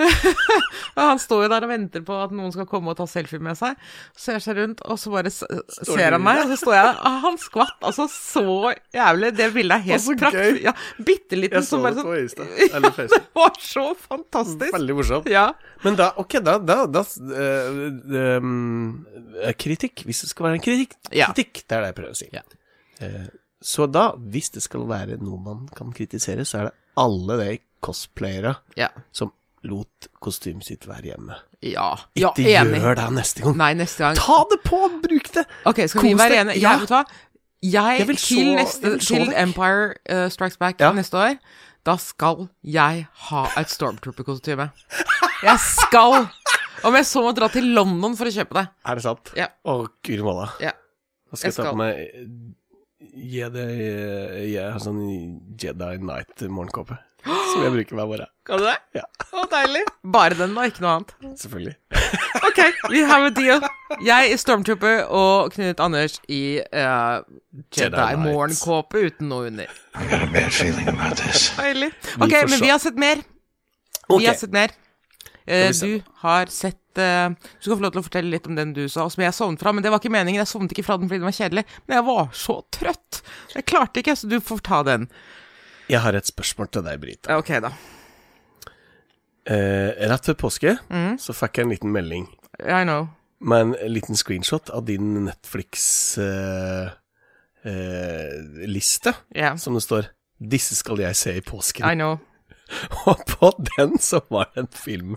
og han står jo der og venter på at noen skal komme og ta selfie med seg. Så ser seg rundt, og så bare s ser han
du
meg, og så står jeg der. Ah, Han skvatt altså så jævlig. Det bildet er
Å, så
helt prakt...
gøy.
Ja, bitte liten
Jeg
som
så
bare
det på
sånn
Insta. Eller
Det
Facebook.
var så fantastisk.
Veldig morsomt.
Ja.
Men da, ok, da, da, da eh, ehm, eh, Kritikk, hvis det skal være en kritikk,
Ja.
kritikk det er det jeg prøver å si.
Ja.
Eh, så da, hvis det skal være noe man kan kritisere, så er det alle de cosplayere
Ja.
som lot kostymet sitt være hjemme.
Ja, ja
Ikke
enig.
gjør det neste gang.
Nei, neste gang.
Ta det på, bruk det!
Ok, skal vi
Kos
være
deg.
enige?
Ja.
Jeg, vet du hva? Jeg,
Jeg vil
til,
så-
neste,
jeg vil så
til
deg.
Empire eh, Strikes Back
Ja.
neste år, da skal jeg ha et Stormtrooper-kostyme. Jeg skal! Om jeg så må dra til London for å kjøpe det.
Er det sant?
Ja.
Å, guri malla.
Ja.
Da skal
Jeg
jeg ta
skal.
på meg eh, Jedi eh, Jeg har sånn Jedi Night-morgenkåpe som jeg bruker hver morgen.
Kan du det?
Ja.
Å, deilig. Bare den, da. Ikke noe annet.
Selvfølgelig.
Ok, we have a deal. Jeg i Stormtrooper og Knut Anders i eh,
Jedi
Jedi-morgenkåpe uten noe under.
got a bad feeling about this.
Deilig.
Vi
Ok,
får
men
se.
vi har sett mer.
Ok.
Vi har sett mer. Eh,
vi se.
du har sett eh, Du skal få lov til å fortelle litt om den du sa, og som jeg sovnet fra. Men det var ikke meningen. Jeg sovnet ikke fra den fordi den var kjedelig. Men jeg var så trøtt. Jeg klarte ikke, så du får ta den.
Jeg har et spørsmål til deg, Brita.
Ja, Ok, da.
Eh, rett før påske
Mm.
så fikk jeg en liten melding
I know.
med en liten screenshot av din Netflix-liste,
Yeah.
eh, som det står 'Disse skal jeg se i
I
påsken'.
know.
Og på den så var det en film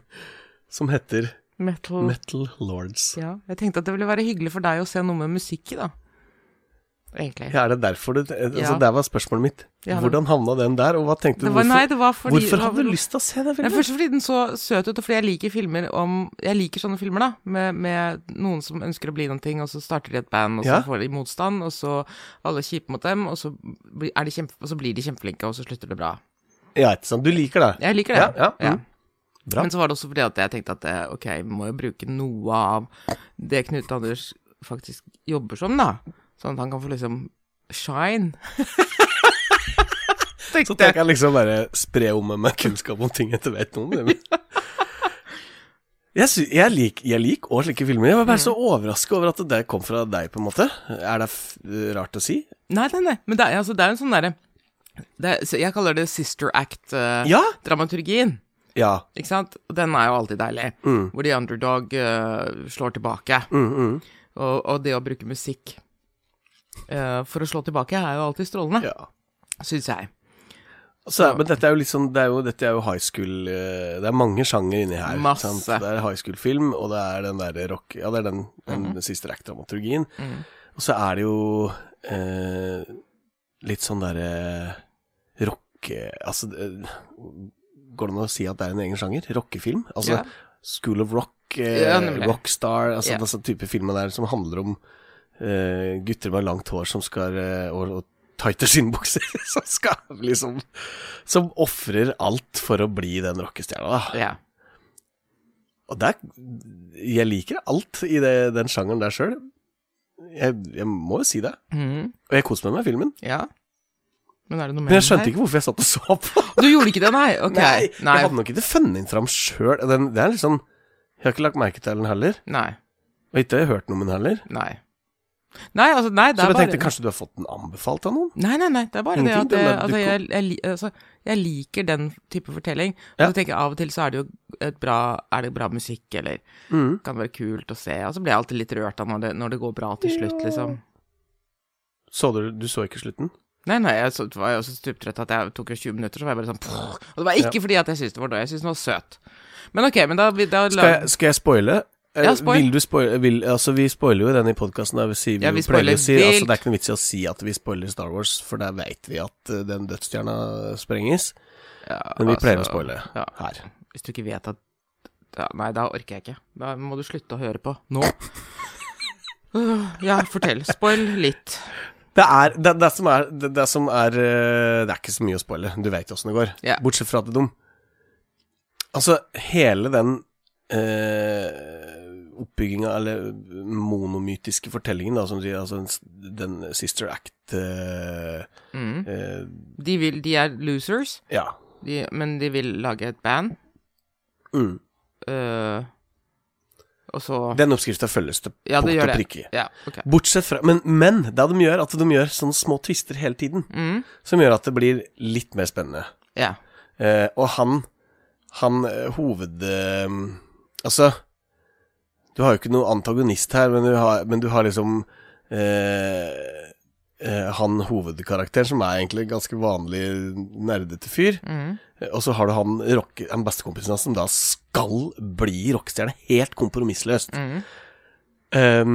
som heter
Metal.
Metal Lords.
ja. Jeg tenkte at det ville være hyggelig for deg å se noe med musikk i, da. Egentlig.
Ja, er det derfor du altså,
Ja.
Der var spørsmålet mitt.
Ja, det-
Hvordan havna den der, og hva tenkte du?
Det var, nei, det var fordi det
hvorfor
var
hadde
vel-
du lyst til å se det?
Nei,
filmen?
først fordi den så søt ut, og fordi jeg liker filmer om Jeg liker sånne filmer, da, med, med noen som ønsker å bli noen ting, og så starter de et band, og så
Ja.
får de motstand, og så alle er kjipe mot dem, og så, blir- er de kjempe, og så blir de kjempeflinke, og så slutter det bra.
Ja, ikke sant. Du liker det?
Jeg liker det.
Ja, ja, mm. Bra.
Men så var det også fordi at jeg tenkte at eh, ok, vi må jo bruke noe av det Knut Anders faktisk jobber som, da, sånn at han kan få liksom shine.
Så
tenkte
tenker jeg liksom bare spre om meg med kunnskap om ting jeg ikke vet noe om. Jeg, sy jeg liker jeg lik også slike filmer. Jeg var bare så overraska over at det der kom fra deg, på en måte. Er det f rart å si?
Nei, nei, nei. Men det er, altså, det er jo en sånn derre det er- så Jeg kaller det sister
Ja.
act-dramaturgien.
Ja. Mm.
Ikke sant? Og Den er jo alltid deilig. Hvor de underdog eh, slår tilbake. Og, og det å bruke musikk eh, for å slå tilbake er jo alltid strålende,
ja.
syns jeg.
Så, men dette er jo litt sånn det er jo, Dette er jo high school eh, Det er mange sjanger inni her. ikke
Masse.
sant? Det er high school-film, og det er den derre rock Ja, det er den, den siste rack-dramaturgien.
Mm.
Og så er det jo eh, litt sånn derre rocke... Altså eh, Går det an å si at det er en egen sjanger? Rockefilm? Altså
Ja.
School of Rock, eh,
Ja, nemlig.
Rockstar Altså
Ja.
yeah. disse type filmer der som handler om eh, gutter med langt hår som skal eh, og, og tighte skinnbukser som skal liksom Som ofrer alt for å bli den rockestjerna, da.
Ja.
Og der Jeg liker alt i det, den sjangeren der sjøl. Jeg, jeg må jo si det.
Mhm.
Og jeg koste meg med filmen.
ja. Men er det noe mer?
Men jeg skjønte ikke hvorfor jeg satt og så på.
Du gjorde ikke det, nei? Ok.
Nei,
Nei.
Jeg hadde nok ikke funnet den fram sjøl. Den, det er litt sånn Jeg har ikke lagt merke til den heller.
Nei.
Og ikke hørt noe om den heller.
Nei. Nei, altså, nei, det er
Så jeg
bare
tenkte kanskje du har fått den anbefalt av noen?
Nei, nei, nei, det er bare det
Ingenting,
at jeg,
det
altså,
dukker
jeg, jeg, li- altså, jeg liker den type fortelling. Og
Ja.
så tenker jeg av og til så er det jo et bra, er det bra musikk, eller
Mm.
kan være kult å se. Og så blir jeg alltid litt rørt da når det, når det går bra til slutt, liksom.
Så du Du så ikke slutten?
Nei, nei, jeg så, var jo så stuptrøtt at jeg tok jo 20 minutter, så var jeg bare sånn «Pff». Og det var ikke fordi at jeg syntes det var dårlig, jeg syntes den var søt. Men ok, men da, vi- da
Skal jeg, skal jeg spoile? Eh,
Ja, spoil.
Vil du spoile vil, Altså, vi spoiler jo den i podkasten. Vi, sier- vi,
Ja, vi
jo pleier
spoiler
å si, altså,
vilt.
det er ikke noe vits i å si at vi spoiler Star Wars, for der veit vi at eh, den dødsstjerna sprenges.
ja,
Men vi pleier å
altså,
spoile
ja.
her.
Altså, Hvis du ikke vet at ja, Nei, da orker jeg ikke. Da må du slutte å høre på. Nå. Øh, ja, fortell. Spoil litt.
Det er det, det som er, det, det som er eh, Det er ikke så mye å spoile. Du veit åssen det går.
Ja.
Bortsett fra at de Altså, hele den eh, oppbygginga, eller monomytiske fortellingen, da, som du sier, altså den, s- den Sister Act eh,
Mm.
eh,
De, vil, de er losers,
Ja.
de, men de vil lage et band.
Mm.
øh, og så
Den oppskrifta følges til
Ja, det
punkt
gjør
og
det.
prikke.
Ja, ok.
Bortsett fra Men, men det de gjør, at de gjør sånne små twister hele tiden,
Mm,
som gjør at det blir litt mer spennende.
ja.
Eh, og han Han eh, hoved... Eh, altså Du har jo ikke noen antagonist her, men du har, men du har liksom eh, eh, han hovedkarakteren, som er egentlig ganske vanlig nerdete fyr.
Mm.
Eh, Og så har du han, rock, han bestekompisen hans, som da skal bli rockestjerne. Helt kompromissløst.
Mm.
Eh,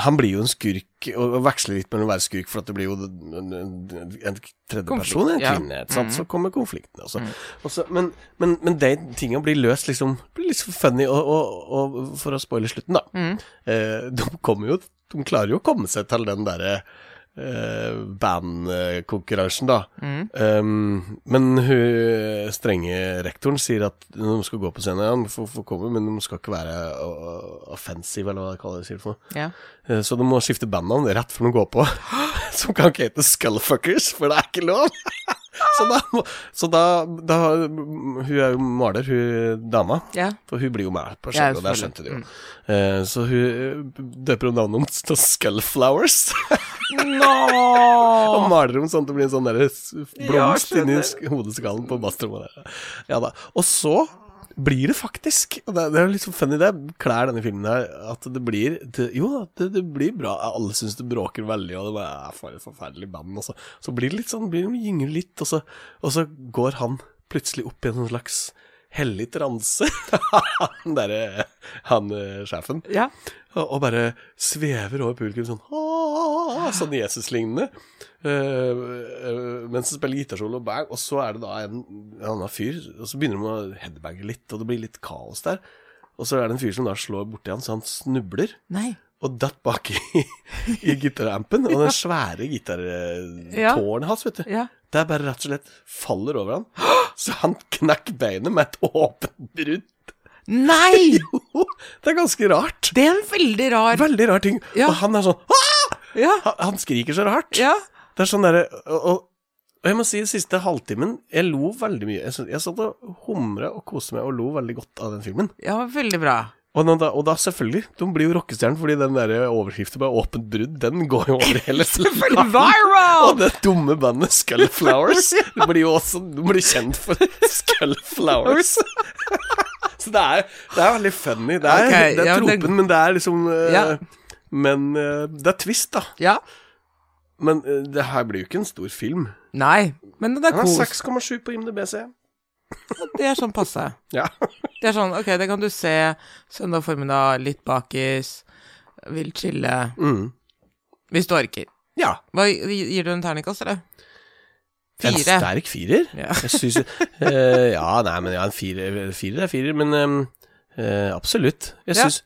han blir jo en skurk, og og veksler litt mellom å være skurk, for at det blir jo en, en, en tredje
Konflikt,
person, en
ja.
kvinne. Ikke sant?
Mhm.
Så kommer konflikten. Altså.
Mm.
Og så- men, men, men de tinga blir løst liksom Blir liksom funny, og, og, og for å spoile slutten, da.
Mm.
Eh, de kommer jo De klarer jo å komme seg til den derre eh, bandkonkurransen, da.
Mm.
Um, men hun strenge rektoren sier at når de skal gå på scenen, ja, de får, får komme, men de skal ikke være uh, offensive, eller hva de kaller det. Sier for. noe.
Ja.
Eh, Så de må skifte bandnavn rett før de går på. Som kan ikke hete Skullfuckers, for det er ikke lov. Så da, må- så da, da Hun er jo maler, hun dama.
ja.
For hun blir jo med på
Ja,
skjønnet, og det
selvfølgelig. Mm.
skjønte du jo. Eh, så hun eh, døper om navnet hennes til Skullflowers. Og
Nå!
maler om sånn at det blir en sånn der s- blomst
Ja,
inni
skjønner.
sk- hodeskallen på bassrommet der. Ja da. Og så blir det faktisk og Det, det er jo litt sånn funny, det klær denne filmen her, at det blir det, Jo da, det, det blir bra. Alle syns det bråker veldig, og det bare er for et forferdelig band. Og så, så blir det litt sånn, blir de gynger litt, og så, og så går han plutselig opp i en sånn slags hellig transe, han derre Han eh, sjefen.
Ja.
Og og bare svever over publikum sånn «Åh», Sånn Jesus-lignende. Eh, eh, mens han spiller gitarsolo og bang, og så er det da en, en annen fyr, og så begynner de å headbange litt, og det blir litt kaos der. Og så er det en fyr som da slår borti han, så han snubler
Nei.
og datt baki i, i gitarampen. Og den svære gitartårnet hans, vet du,
Ja.
det er bare rett og slett faller over han. Så han knekker beinet med et åpent brudd.
Nei!
Jo, det er ganske rart.
Det er en veldig rar
Veldig rar ting.
Ja.
Og han er sånn «Åh!»
Ja.
han, han skriker så rart.
ja.
Det er sånn derre og, og, og jeg må si, siste halvtimen Jeg lo veldig mye. Jeg, synes- jeg satt og humra og koste meg og lo veldig godt av den filmen.
Ja, veldig bra.
Og, nå da, og da, selvfølgelig, de blir jo rockestjerner fordi den der overskriften med åpent brudd, den går jo over hele
Veldig
verden. Og
viral!
det dumme bandet Skullflowers. De blir jo også de blir kjent for Skullflowers. Så det er, det er veldig funny. Det er,
Ok,
det er
ja, det-
tropen, men det er liksom eh,
Ja.
Men eh, det er twist, da.
Ja.
Men eh, det her blir jo ikke en stor film.
Nei, men den er
Den har
kos.
6,7 på IMDb, ser jeg.
Det er sånn passe.
Ja.
Det er sånn, ok, det kan du se søndag formiddag, litt bakis, vil chille,
Mm.
hvis du orker.
ja.
Hva, gir du en terningkast, eller?
En
Fire.
sterk firer?
Ja.
Jeg synes, eh, ja, nei, men ja, en firer, firer er firer, men ehm, eh, absolutt. Jeg
Ja.
syns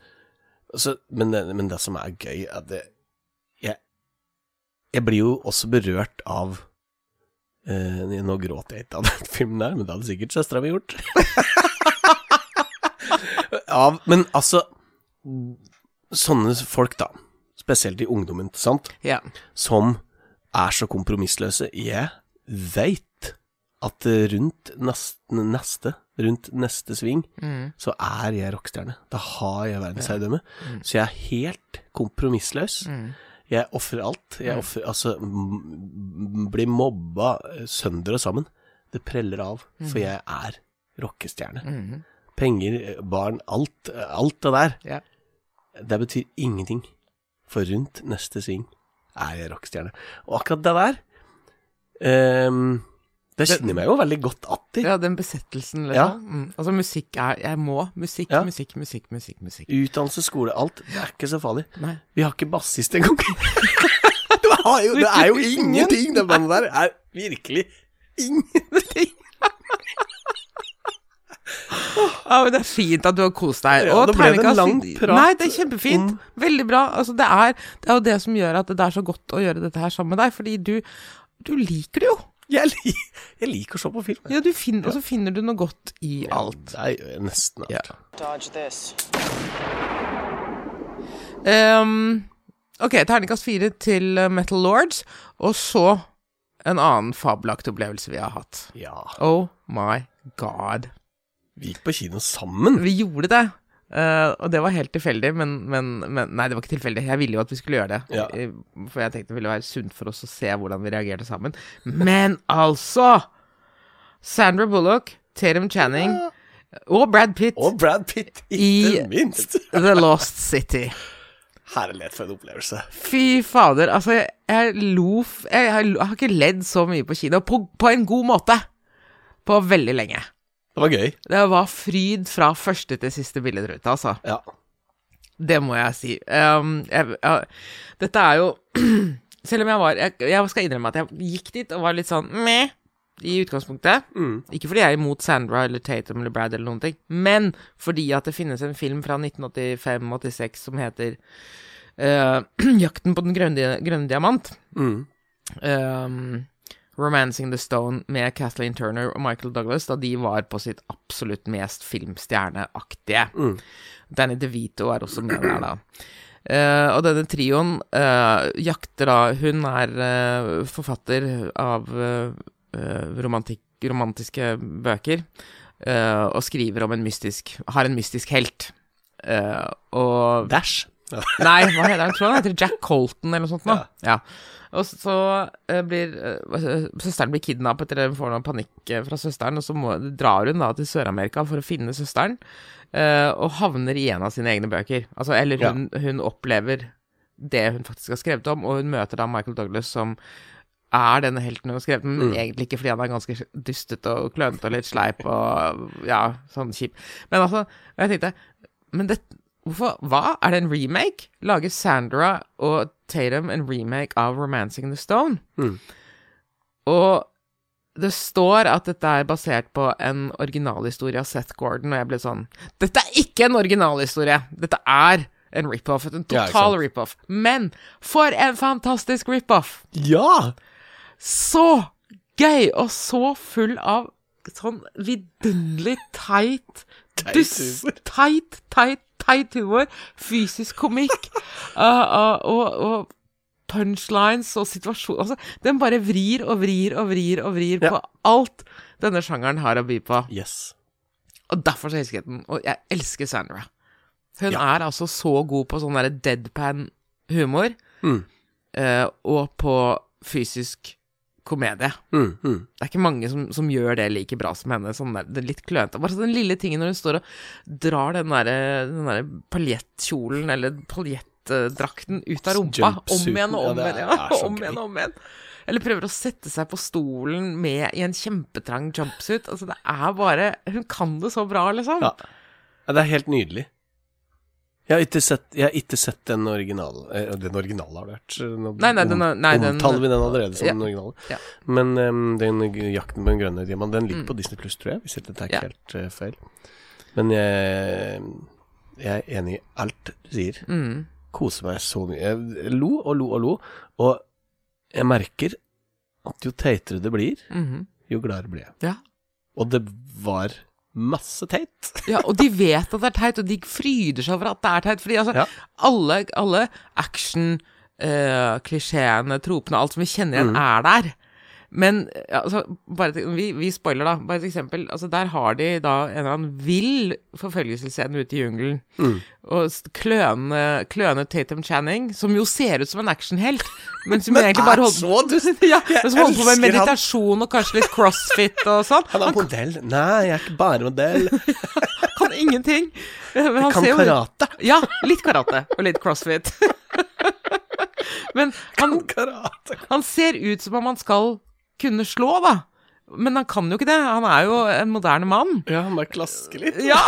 altså, men, det- men det som er gøy, er at det, jeg, jeg blir jo også berørt av eh, Nå gråter jeg ikke av den filmen der, men det hadde sikkert søstera mi gjort. av, men altså Sånne folk, da, spesielt i ungdommen, ikke sant?
Ja.
som er så kompromissløse. Jeg veit at rundt nesten neste, rundt neste sving,
Mm.
så er jeg rockestjerne. Da har jeg verdensherredømme. Så jeg er helt kompromissløs.
Mm.
Jeg ofrer alt. Jeg ofrer Altså, m- m- blir mobba eh, sønder og sammen. Det preller av, for jeg er rockestjerne.
Mm.
Penger, eh, barn, alt, eh, alt det der.
Ja.
Det betyr ingenting, for rundt neste sving er jeg rockestjerne. Og akkurat det der ehm, Det kjenner jeg meg jo veldig godt att i.
ja, den besettelsen,
Ja.
liksom. Mm. Altså, musikk er, jeg må, musikk,
Ja.
musikk, musikk, musikk, musikk.
Utdannelse, skole, alt. Det er ikke så farlig.
Nei.
Vi har ikke bassist engang. Du har jo- det er jo ingenting, det bandet der. er virkelig ingenting.
Ja, men det er fint at du har kost deg.
Ja,
Og
da ble det en
terningkast-
lang prat
Nei, det er kjempefint.
om-
Veldig bra. Altså, det er, det er jo det som gjør at det er så godt å gjøre dette her sammen med deg, fordi du, du liker det jo.
Jeg, li jeg liker å se på film.
Ja, du finner, og så finner du noe godt i alt.
Nei, nesten alt.
Ja.
Dodge this.
Ehm, ok, terningkast fire til eh, Metal Lords, og så en annen fabelaktig opplevelse vi har hatt.
Ja.
Oh my god.
Vi gikk på kino sammen.
Vi gjorde det. eh, og det var helt tilfeldig, men, men, men Nei, det var ikke tilfeldig. Jeg ville jo at vi skulle gjøre det.
Ja.
Eh, For jeg tenkte det ville være sunt for oss å se hvordan vi reagerte sammen. Men altså! Sandra Bullock, Tatum Channing og Brad Pitt
Og Brad Pitt, ikke
I-
minst.
The Lost City.
Herlighet for en opplevelse.
Fy fader, altså, jeg, jeg lo f- jeg, har- jeg har ikke ledd så mye på kino, på, på en god måte, på veldig lenge.
Det var gøy.
Det var fryd fra første til siste billedrute, altså.
Ja.
Det må jeg si. Ehm, jeg, jeg, dette er jo Selv om jeg var jeg, jeg skal innrømme at jeg gikk dit og var litt sånn meh i utgangspunktet. Ikke fordi jeg er imot Sandra eller Tatum eller Brad eller noen ting, men fordi at det finnes en film fra 1985-86 som heter eh, 'Jakten på den grønne, di- grønne diamant'.
Mm.
Ehm, 'Romancing the Stone' med Kathleen Turner og Michael Douglas, da de var på sitt absolutt mest filmstjerneaktige. Danny DeVito er også med der, da. Eh, og denne trioen eh, jakter da Hun er eh, forfatter av eh, eh, romantikk, romantiske bøker eh, og skriver om en mystisk Har en mystisk helt. Eh, og
Dash. Ja.
Nei, hva heter han? Jeg tror han heter Jack Colton eller noe sånt. nå. Ja. Og så eh, blir eh, hva- søsteren blir kidnappet, eller får noe panikk eh, fra søsteren, og så må, drar hun da til Sør-Amerika for å finne søsteren, eh, og havner i en av sine egne bøker. Altså, eller hun, hun opplever det hun faktisk har skrevet om, og hun møter da Michael Douglas som er denne helten hun har skrevet,
Mm.
men egentlig ikke fordi han er ganske dustete og klønete og litt sleip og ja, sånn kjip. Men altså, jeg tenkte Men det, hvorfor Hva? Er det en remake? Lager Sandra og Tatum en remake av 'Romancing the Stone'?
Mm.
Og det står at dette er basert på en originalhistorie av Seth Gordon, og jeg ble sånn Dette er ikke en originalhistorie! Dette er en rip-off. En
Ja, ikke
total
sant.
rip-off. Men for en fantastisk rip-off!
Ja!
så gøy og så full av sånn vidunderlig teit Dust,
humor.
teit, teit, teit humor. Fysisk komikk. uh, uh, og, og punchlines og situasjon altså, Den bare vrir og vrir og vrir og vrir
Ja.
på alt denne sjangeren har å by på.
Yes.
Og derfor så elsket jeg den. Og jeg elsker Sandra. Hun
Ja.
er altså så god på sånn derre deadpan humor,
Mm.
eh, og på fysisk komedie.
Mm, mm.
Det er ikke mange som, som gjør det like bra som henne. Sånn der, det er litt klønete. Bare sånn den lille tingen når hun står og drar den derre den der paljettkjolen eller paljettdrakten ut av rumpa. Om
Jumpsuiten,
igjen og om
ja,
igjen.
det er-
Ja,
er så
om igjen og
gøy.
om igjen. Eller prøver å sette seg på stolen med, i en kjempetrang jumpsuit. Altså, det er bare Hun kan det så bra, liksom.
Ja. Ja, det er helt nydelig. Jeg har ikke sett, jeg har ikke sett den originale eh, Den originale har det vært. eh, Nå
Nei, nei, den er- nei, den-
omtaler vi den allerede som
Ja.
den originale.
Ja.
Men ehm, den g- jakten på den grønne diamant, den ligger på Disney Pluss, tror jeg, hvis ikke det er
Ja.
ikke helt eh, feil. Men jeg, jeg er enig i alt du sier.
Mm,
Koser meg så mye. Jeg lo og lo og lo. Og jeg merker at jo teitere det blir,
Mhm.
jo gladere blir jeg.
ja.
Og det var masse teit.
Ja, og de vet at det er teit, og de fryder seg over at det er teit. Fordi altså,
Ja.
alle, alle action, eh, klisjeene, tropene, alt som vi kjenner
Mm.
igjen, er der. Men ja, altså, bare til, vi, vi spoiler, da. Bare et eksempel. Altså, der har de da en eller annen vill forfølgelsesscene ute i jungelen.
Mm.
Og s- kløne, kløne Tatum Channing, som jo ser ut som en actionhelt, men som egentlig bare
Er
holder
så dust!
ja,
Jeg
men som holder på med
elsker han.
meditasjon og kanskje litt crossfit og sånn.
Han er modell. Nei, jeg er ikke bare modell.
kan ingenting. Men han
Kan
ser jo-
karate.
Ja, litt karate og litt crossfit. Men han,
Karate.
han ser ut som om han skal kunne slå, da. Men han kan jo ikke det. Han er jo en moderne mann.
Ja, han bare klasker litt.
Ja.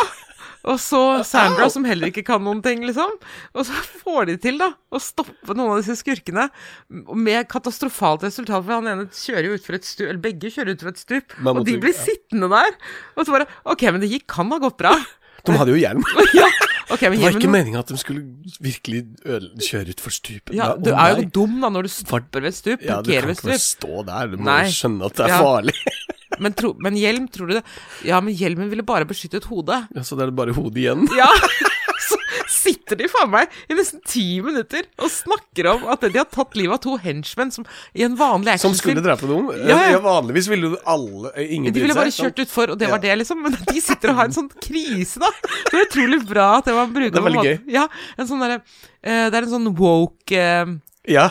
Og så Sandra, som heller ikke kan noen ting, liksom. Og så får de til, da, å stoppe noen av disse skurkene med katastrofalt resultat, for han ene kjører jo utfor et stup, eller begge kjører utfor et stup,
Man
og
måtte-
de blir
ja.
sittende der. Og så bare OK, men det gikk, kan ha gått bra.
De hadde jo hjelm.
Ja, Ok, men
Det
gi
var
meg
ikke
noe-
meninga at de skulle virkelig ødele- kjøre utfor stupet.
Ja,
Nei,
du
å
er jo
nei.
dum da når du
For-
stopper ved et stup.
Ja, du
Parkerer
kan
ved et
ikke bare
stup.
stå der, du må
Nei.
jo skjønne at det er
Ja.
farlig.
Men, tro, men hjelm, tror du det? Ja, men hjelmen ville bare beskyttet hodet.
Ja, så det er bare hodet igjen.
Ja! Så sitter de faen meg i nesten ti minutter og snakker om at de har tatt livet av to henchmen som, i en vanlig
Som
actionfilm.
skulle drepe noen.
Ja, ja.
Ja, vanligvis ville jo alle eh, Ingen
De ville
brydd
bare
seg, sant?
kjørt utfor, og det
Ja.
var det, liksom. Men de sitter og har en sånn krise, da. Så det er utrolig bra at det var en bruker.
Det er veldig gøy.
Ja, en sånn derre eh, Det er en sånn woke-tilnærming
Ja,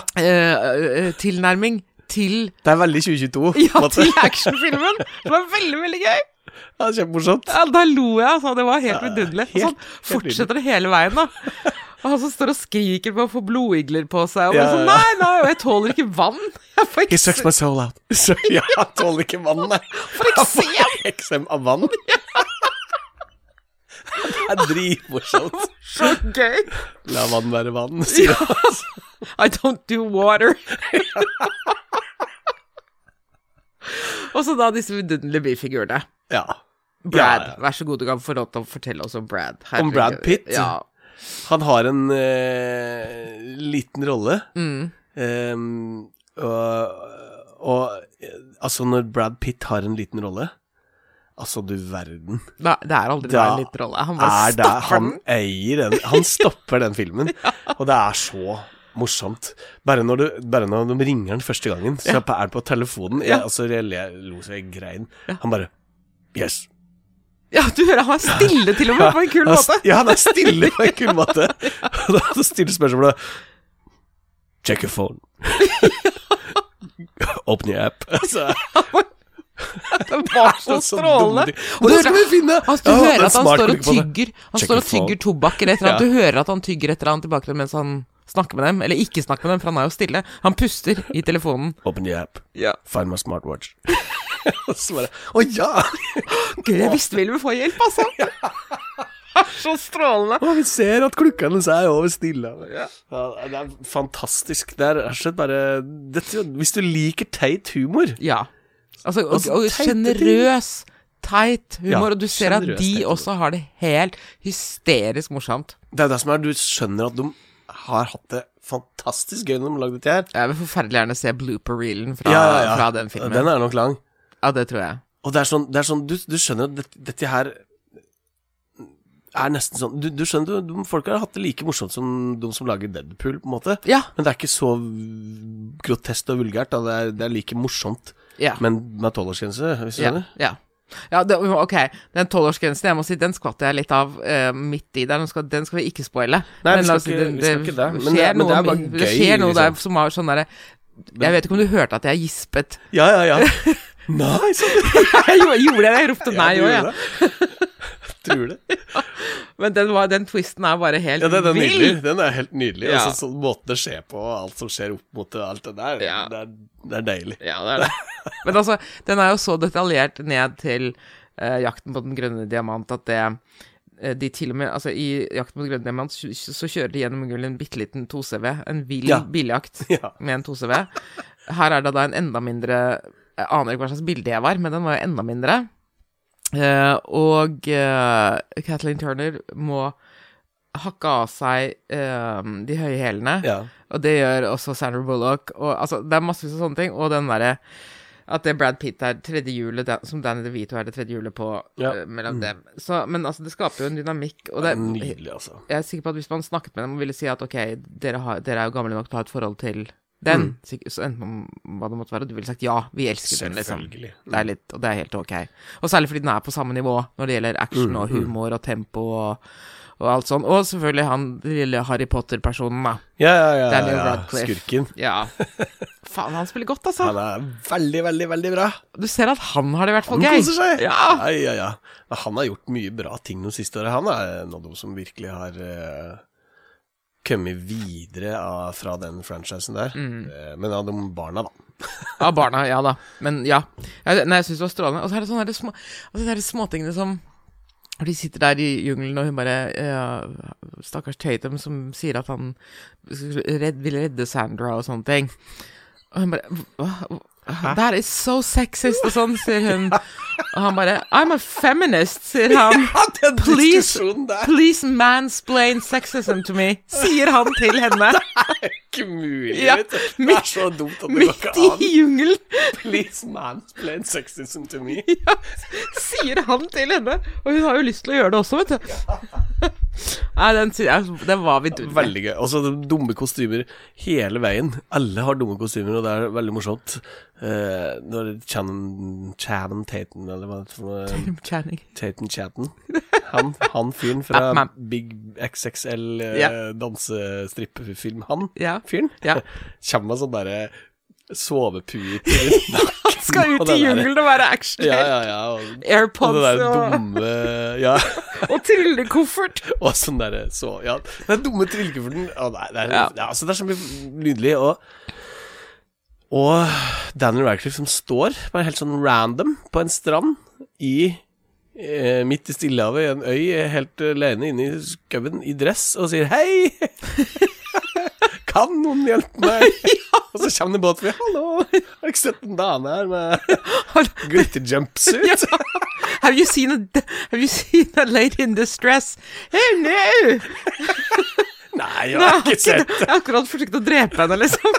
eh, til
det er veldig 2022.
ja,
Mats.
til actionfilmen! Det var veldig, veldig gøy!
Ja, det er Kjempemorsomt.
Ja, da lo jeg, altså. Det var helt vidunderlig. Og
helt-
sånn fortsetter det hele veien, da. Og han som står og skriker på å få blodigler på seg, og bare
Ja,
sånn
ja.
Nei, nei, og jeg tåler ikke vann! Jeg får
He
ikke,
sucks my soul out. Så, ja, han tåler ikke vann, nei.
får ikke se
Eksem av vann. Det er dritmorsomt.
Så gøy!
La vann være vann, sier han.
I don't do water. og så da disse vidunderlige bifigurene.
Ja.
Brad,
Ja, ja.
vær så god, du kan få lov til å fortelle oss om Brad.
Om Brad
Herregud.
Pitt?
Ja.
Han har en eh, liten rolle. Ehm, og, og eh, altså, når Brad Pitt har en liten rolle Altså, du verden.
Nei, det er aldri
Da
bare en liten rolle. Han bare
Er det,
stopper
han
den.
eier den Han stopper den filmen, og det er så morsomt. Bare når, du, bare når de ringer den første gangen, så er det på telefonen. Jeg,
Ja.
altså, jeg le- lo så jeg grein. Han bare Yes.
Ja, du hører han er stille til og med på en kul
Han er-
måte.
Ja, han er stille på en kul måte. Og da så stiller spørsmålet Check your phone. Åpne your app. Altså,
Det var så
så
strålende.
dumt.
Og
Og det
så-
skal vi finne!
Altså, du
Ja, det
hører
er
at han
smart
står
å
og
klikke på det.
tygger Han
Check
står og
your phone.
tygger tobakk eller et eller annet.
Ja.
Du hører at han tygger et eller annet tilbake til dem mens han snakker med dem. Eller ikke snakker med dem, for han er jo stille. Han puster i telefonen.
Open the app.
Ja.
Find my smartwatch. Og så bare Å ja!
Gud, jeg visste vi ville få hjelp, altså. så strålende.
Å, vi ser at klokka hennes er over stille. Ja, det er fantastisk. Det er rett og slett bare dette, Hvis du liker teit humor
Ja. Altså, og,
Altså,
og
teit-
sjenerøs, teit humor.
Ja,
og du ser at
generøs, teit
de
humor.
også har det helt hysterisk morsomt.
Det er jo det som er Du skjønner at de har hatt det fantastisk gøy når de har lagd dette her.
Jeg vil forferdelig gjerne se blooper-reelen fra, fra den filmen.
Den er nok lang.
Ja, det tror jeg.
Og det er sånn, det er sånn du, du skjønner at dette, dette her er nesten sånn Du, du skjønner, du, de folka har hatt det like morsomt som de som lager Deadpool, på en måte.
Ja.
Men det er ikke så groteskt og vulgært. Da. Det, er, det er like morsomt,
Ja.
men med tolvårsgrense, hvis du
Ja,
skjønner.
ja. ja det, ok, den tolvårsgrensen, jeg må si, den skvatt jeg litt av eh, midt i der. Den skal, den skal vi ikke spoile.
Nei, vi
Men la
skal
oss si,
ikke- vi skal ikke det, men det-
skjer
men det er
noe-
bare
Det
gøy,
skjer noe
liksom.
der som var sånn derre Jeg vet ikke om du hørte at jeg gispet.
Ja, ja, ja. Nei, sånn. så
Jeg gjorde gjorde det, jeg ropte nei òg, jeg.
Tror det.
Men den, var, den twisten er bare helt
Ja, den er
vill.
nydelig. Den er helt nydelig.
Ja.
Altså, sånn måten det skjer på, og alt som skjer opp mot det, alt det der,
Ja.
det, er, det er deilig.
Ja, det er det. Men altså, den er jo så detaljert ned til eh, Jakten på den grønne diamant at det eh, de til og med, altså I Jakten på den grønne diamant så- så kjører de gjennom jungelen en bitte liten 2CV. En vill
Ja.
biljakt
Ja.
med en 2CV. Her er det da en enda mindre Jeg aner ikke hva slags bilde jeg var, men den var jo enda mindre. Eh, og eh, Kathleen Turner må hakke av seg eh, de høye hælene.
Ja.
Og det gjør også Sandra Bullock. Og, altså, det er massevis av sånne ting. Og den derre at det er Brad Pitt er tredje hjulet, da- som Danny DeVito er det tredje hjulet på
Ja. Mm.
eh, mellom dem. Så, men altså, det skaper jo en dynamikk, og det Jeg
Nydelig, altså.
er sikker på at hvis man snakket med dem og ville si at ok, dere, har, dere er jo gamle nok til å ha et forhold til den,
Mm.
sikk- så enten om hva det måtte være, og du ville sagt ja, vi elsker den, liksom.
Selvfølgelig.
Det er litt, og det er helt ok. Og særlig fordi den er på samme nivå når det gjelder
Mm,
action og humor og tempo og, og alt sånn. Og selvfølgelig han lille Harry Potter-personen, da.
Ja, ja, ja.
Daniel
ja.
Radcliffe.
Skurken.
Ja. Faen, han spiller godt, altså.
Han er veldig, veldig, veldig bra.
Du ser at han har det i hvert fall
Han
gøy.
koser seg.
Ja.
ja, ja. ja. Men han har gjort mye bra ting de siste åra. Han er en av de som virkelig har eh, kommet videre av, fra den franchisen der.
Mm.
Eh, men av de barna, da.
Av barna, ja da. Men ja. Jeg, nei, jeg syns det var strålende. Og så er det sånne der små, altså, de der småtingene som når de sitter der i jungelen, og hun bare eh, Stakkars Tatum som sier at han skulle redd, vil redde Sandra og sånne ting. Og hun bare hva? hva- That is so sexist, og sånn, sier hun. Og han bare I'm a feminist, sier han.
Ja, den
Please,
diskusjonen der
please mansplain sexism to me, sier han til henne.
er ikke mulig.
Ja,
vet du. det
midt-
er så dumt at det går
Midt
ikke
i
an.
jungelen
Please mansplain sexism to me.
sier han til henne. Og hun har jo lyst til å gjøre det også, vet du. Nei, den, sy- ja, den var vidunderlig.
Veldig gøy. Og så dumme kostymer hele veien. Alle har dumme kostymer, og det er veldig morsomt. Eh, når Channon Channon Tatum, eller hva det heter for noe
Channing.
Tatum Chatten. Han, han fyren fra
Batman.
Big XXL eh,
Ja.
dansestrippefilm. Han
Ja.
fyren
Ja.
kommer med sånn derre sovepute rundt nakken.
Skal
og
ut
den
i
derre-
jungelen og være actionhelt.
Ja, ja, ja. Og, og
Airpods
det der
og,
dumme Ja.
og trillekoffert.
Og sånn derre så Ja, den dumme trillekofferten. Å, nei, det er, ja.
Ja.
altså, det er så mye nydelig. Og, og Daniel Radcliffe som står bare helt sånn random på en strand i eh, midt i Stillehavet, i en øy, helt alene inne i skauen, i dress, og sier 'hei'. Kan noen hjelpe meg? Og så kommer det en båt forbi. 'Hallo, har du ikke sett en dame her med glitterjumpsuit?'
Ja. Have you seen a Have you seen a lady in distress? Oh no!
Nei, jeg
Nei,
har
jeg har
ikke
ikke-
sett
jeg har akkurat forsøkt å drepe henne, liksom.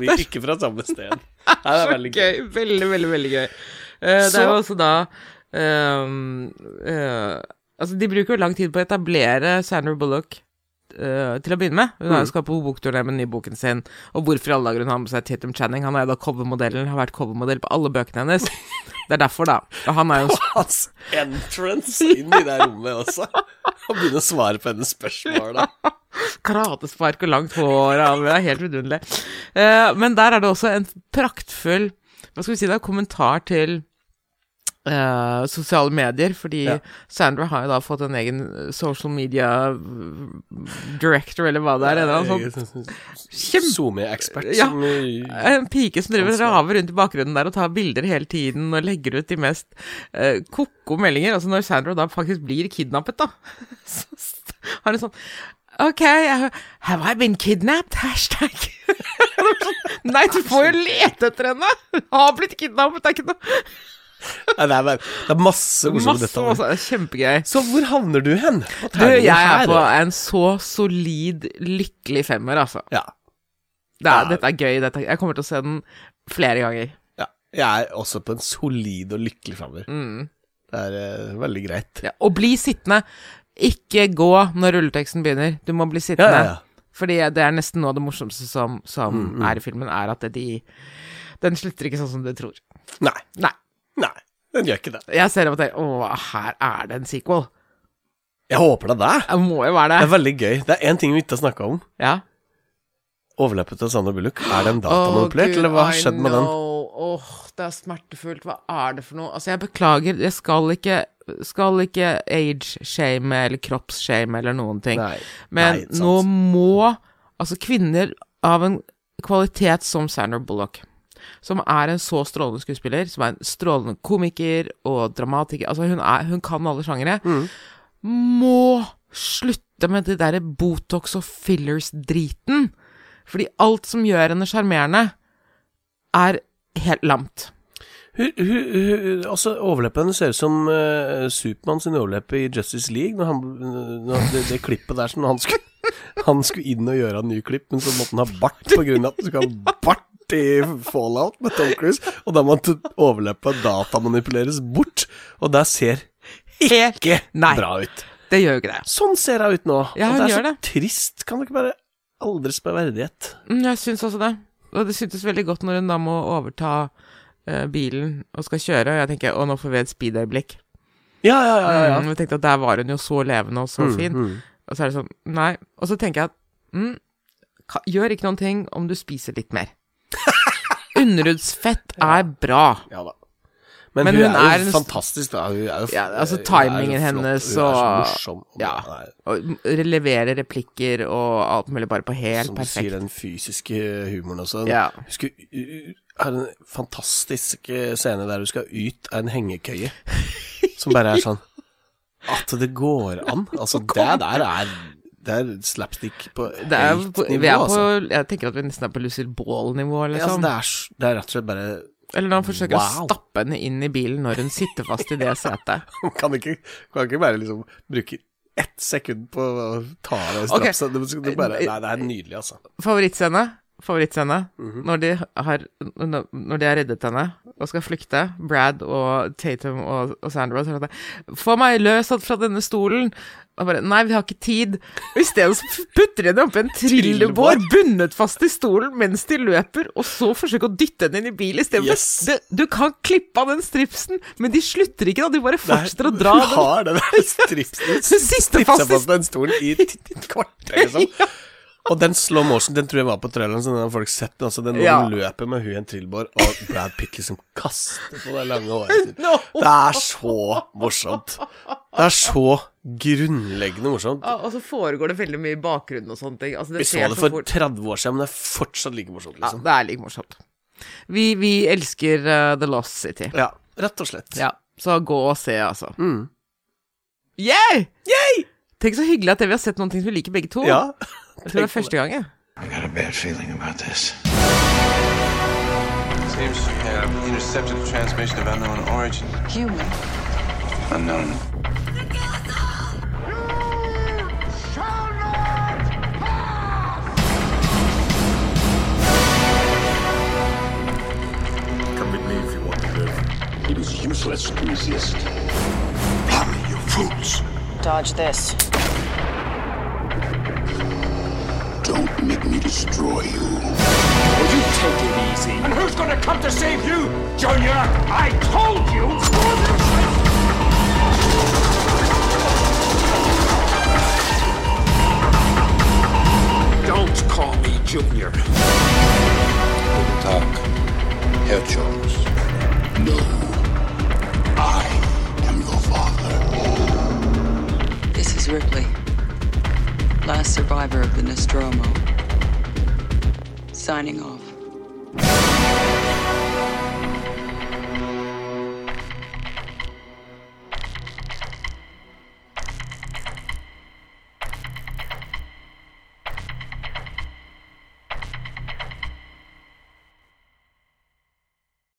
Vi er ikke fra samme sted. Nei, det er
Så
veldig gøy.
gøy. Veldig, veldig, veldig gøy. Eh, det
Så-
er jo også da ehm, eh, Altså, de bruker jo lang tid på å etablere Sandra Bullock. eh, til å begynne med. Hun
Mm.
har jo skal på bokturné med nyboken sin. Og hvorfor i alle dager hun har med seg Tatum Channing. Han er jo da covermodellen, har vært covermodell på alle bøkene hennes. Det er derfor, da. Og han er jo en
Hans entrance inn i det rommet også. Han begynner å svare på hennes spørsmål, da.
karatespark og langt hår. og Det er helt vidunderlig. Eh, men der er det også en praktfull hva skal vi si da, kommentar til eh, sosiale medier, fordi
Ja.
Sandra har jo da fått en egen eh, social media mm, director, eller hva det er. En, eller annen sånn, Kjempe-
SoMe-ekspert
Ja.
som i-
en pike som driver og
Ansvar.
raver rundt i bakgrunnen der og tar bilder hele tiden og legger ut de mest uh, ko-ko meldinger. Altså når Sandra da faktisk blir kidnappet, da, så st- har hun sånn OK, I- have I been kidnapped? Hashtag. Det var sånn, Nei, du får jo lete etter henne! Hun har blitt kidnappet, det er ikke noe
Nei, det, er, bare- det er masse morsomme
Masse,
detaljer.
masse. Kjempegøy.
Så hvor havner du hen? Hva
Du,
terninger
jeg er
her?
på en så solid lykkelig femmer, altså.
ja.
Det er,
Ja.
dette er gøy. Dette, jeg kommer til å se den flere ganger.
ja. Jeg er også på en solid og lykkelig framover.
Mm.
Det er eh, veldig greit.
Ja, og bli sittende. Ikke gå når rulleteksten begynner. Du må bli sittende.
Ja, Mm, ja, ja.
Fordi det er nesten noe av det morsomste som, som er i filmen, er at de Den slutter ikke sånn som du tror.
Nei.
Nei.
Nei, den gjør ikke det.
Jeg ser av og til Å, her er det en sequel.
Jeg håper det er det.
Det må jo være
Det er
det.
veldig gøy. Det er én ting vi ikke har snakka om.
Ja.
Overleppet til Sandra Bullock. Er den datamanipulert, eller hva har skjedd med den?
Åh, det er smertefullt. Hva er det for noe? Altså, jeg beklager. Jeg skal ikke skal ikke age-shame eller kropps-shame eller noen ting.
Nei,
Men
nei, sant.
nå må altså kvinner av en kvalitet som Sandra Bullock, som er en så strålende skuespiller, som er en strålende komiker og dramatiker Altså, hun, er, hun kan alle sjangere. Må slutte med det derre Botox og fillers-driten. Fordi alt som gjør henne sjarmerende, er helt lamt.
Hun, hun, hun, altså, overleppen hennes ser ut som uh, Supermann sin overleppe i Justice League. Når han, når det, det klippet der som han skulle Han skulle inn og gjøre en ny klipp, men så måtte han ha bart på grunn av at du skal ha bart i Fallout med Tom Cruise. Og da måtte overleppa datamanipuleres bort, og det ser
Helt
ikke
Nei.
bra ut.
Det gjør jo ikke det.
Sånn ser hun ut nå.
Ja,
og
hun
det er
gjør
så trist. Kan det ikke bare aldres med verdighet?
Mm, Jeg syns også det. Og det syntes veldig godt når hun da må overta eh, bilen og skal kjøre, og jeg tenker å, nå får vi et speed-øyeblikk.
Ja, ja, ja. ja, ja. Mm,
Mm, og jeg tenkte at der var hun jo så levende og så fin. Og så er det sånn, nei. Og så tenker jeg at mm, ka- gjør ikke noen ting om du spiser litt mer. Underhudsfett er bra.
Ja da. Men,
Men
hun,
hun
er,
er
jo
en-
fantastisk, da. Hun er jo,
Ja, altså,
hun er jo
timingen
flott,
hennes
Hun er så
og-
morsom. Og
Ja.
det
Og
er-
levere replikker og alt mulig bare på helt
som du sier,
perfekt.
den fysiske humoren også.
Ja.
Husker er en fantastisk eh, scene der du skal ut av en hengekøye, som bare er sånn At det går an. Altså, det der er det er slapstick på
Det er,
høyt
på,
nivå,
vi er på,
altså.
jeg tenker at vi nesten er på Lucille Ball-nivå,
Ja, altså
liksom.
det, er, s- det er rett og slett bare
Eller når han forsøker å
Wow.
stappe henne inn i bilen når hun sitter fast i det setet.
Kan ikke, kan ikke bare liksom bruke ett sekund på å ta av deg
Ok. Eh,
strapsen. Det, det, bare, nei, det er nydelig, altså.
Favorittscene. Favorittscene.
Mhm.
når, de har, når når de har reddet henne og skal flykte, Brad og Tatum og, og Sandra sier at 'Få meg løs fra denne stolen'. Og bare 'Nei, vi har ikke tid'. Og isteden så putter de henne oppi en trillebår bundet fast i stolen mens de løper, og så forsøker å dytte henne inn i bil istedenfor.
Yes.
Det- Du kan klippe av den stripsen, men de slutter ikke da. De bare fortsetter å dra
Hun
den
har den der stripsen
siste
Tipsa
fast i
fast på en stol i et et kvarter, liksom. Og den slow motion, den tror jeg var på traileren, så den har folk sett. den, Altså, den når
Ja.
hun løper med hun i en trillebår, og Brad Pitt liksom kaster på det lange håret sitt.
No.
Det er så morsomt. Det er så grunnleggende morsomt.
Ja, Og så foregår det veldig mye i bakgrunnen og sånne ting. Altså, det
Vi så
skjer
det
så
for
fort.
30 år siden, men det er fortsatt like morsomt,
Ja,
liksom.
det er like morsomt. Vi, vi elsker eh, The Lost City.
Ja, rett og slett.
Ja, så gå og se, altså.
Mm.
Yeah! Tenk så hyggelig at vi har sett noen ting som vi liker begge to.
Ja.
jeg tror det er første gang, jeg.
I got a bad feeling about this.
Seems to have intercepted a transmission of unknown origin.
human.
Unknown.
Come with me if you want to live. It is useless to resist. Hurry, you fools!
Dodge this.
Don't make me destroy you.
And who's gonna come to save you, Junior? I told you! Don't call me Junior.
Tag, Herr Jones. No. I am your father.
This is Ripley, last survivor of the Nostromo. Signing off.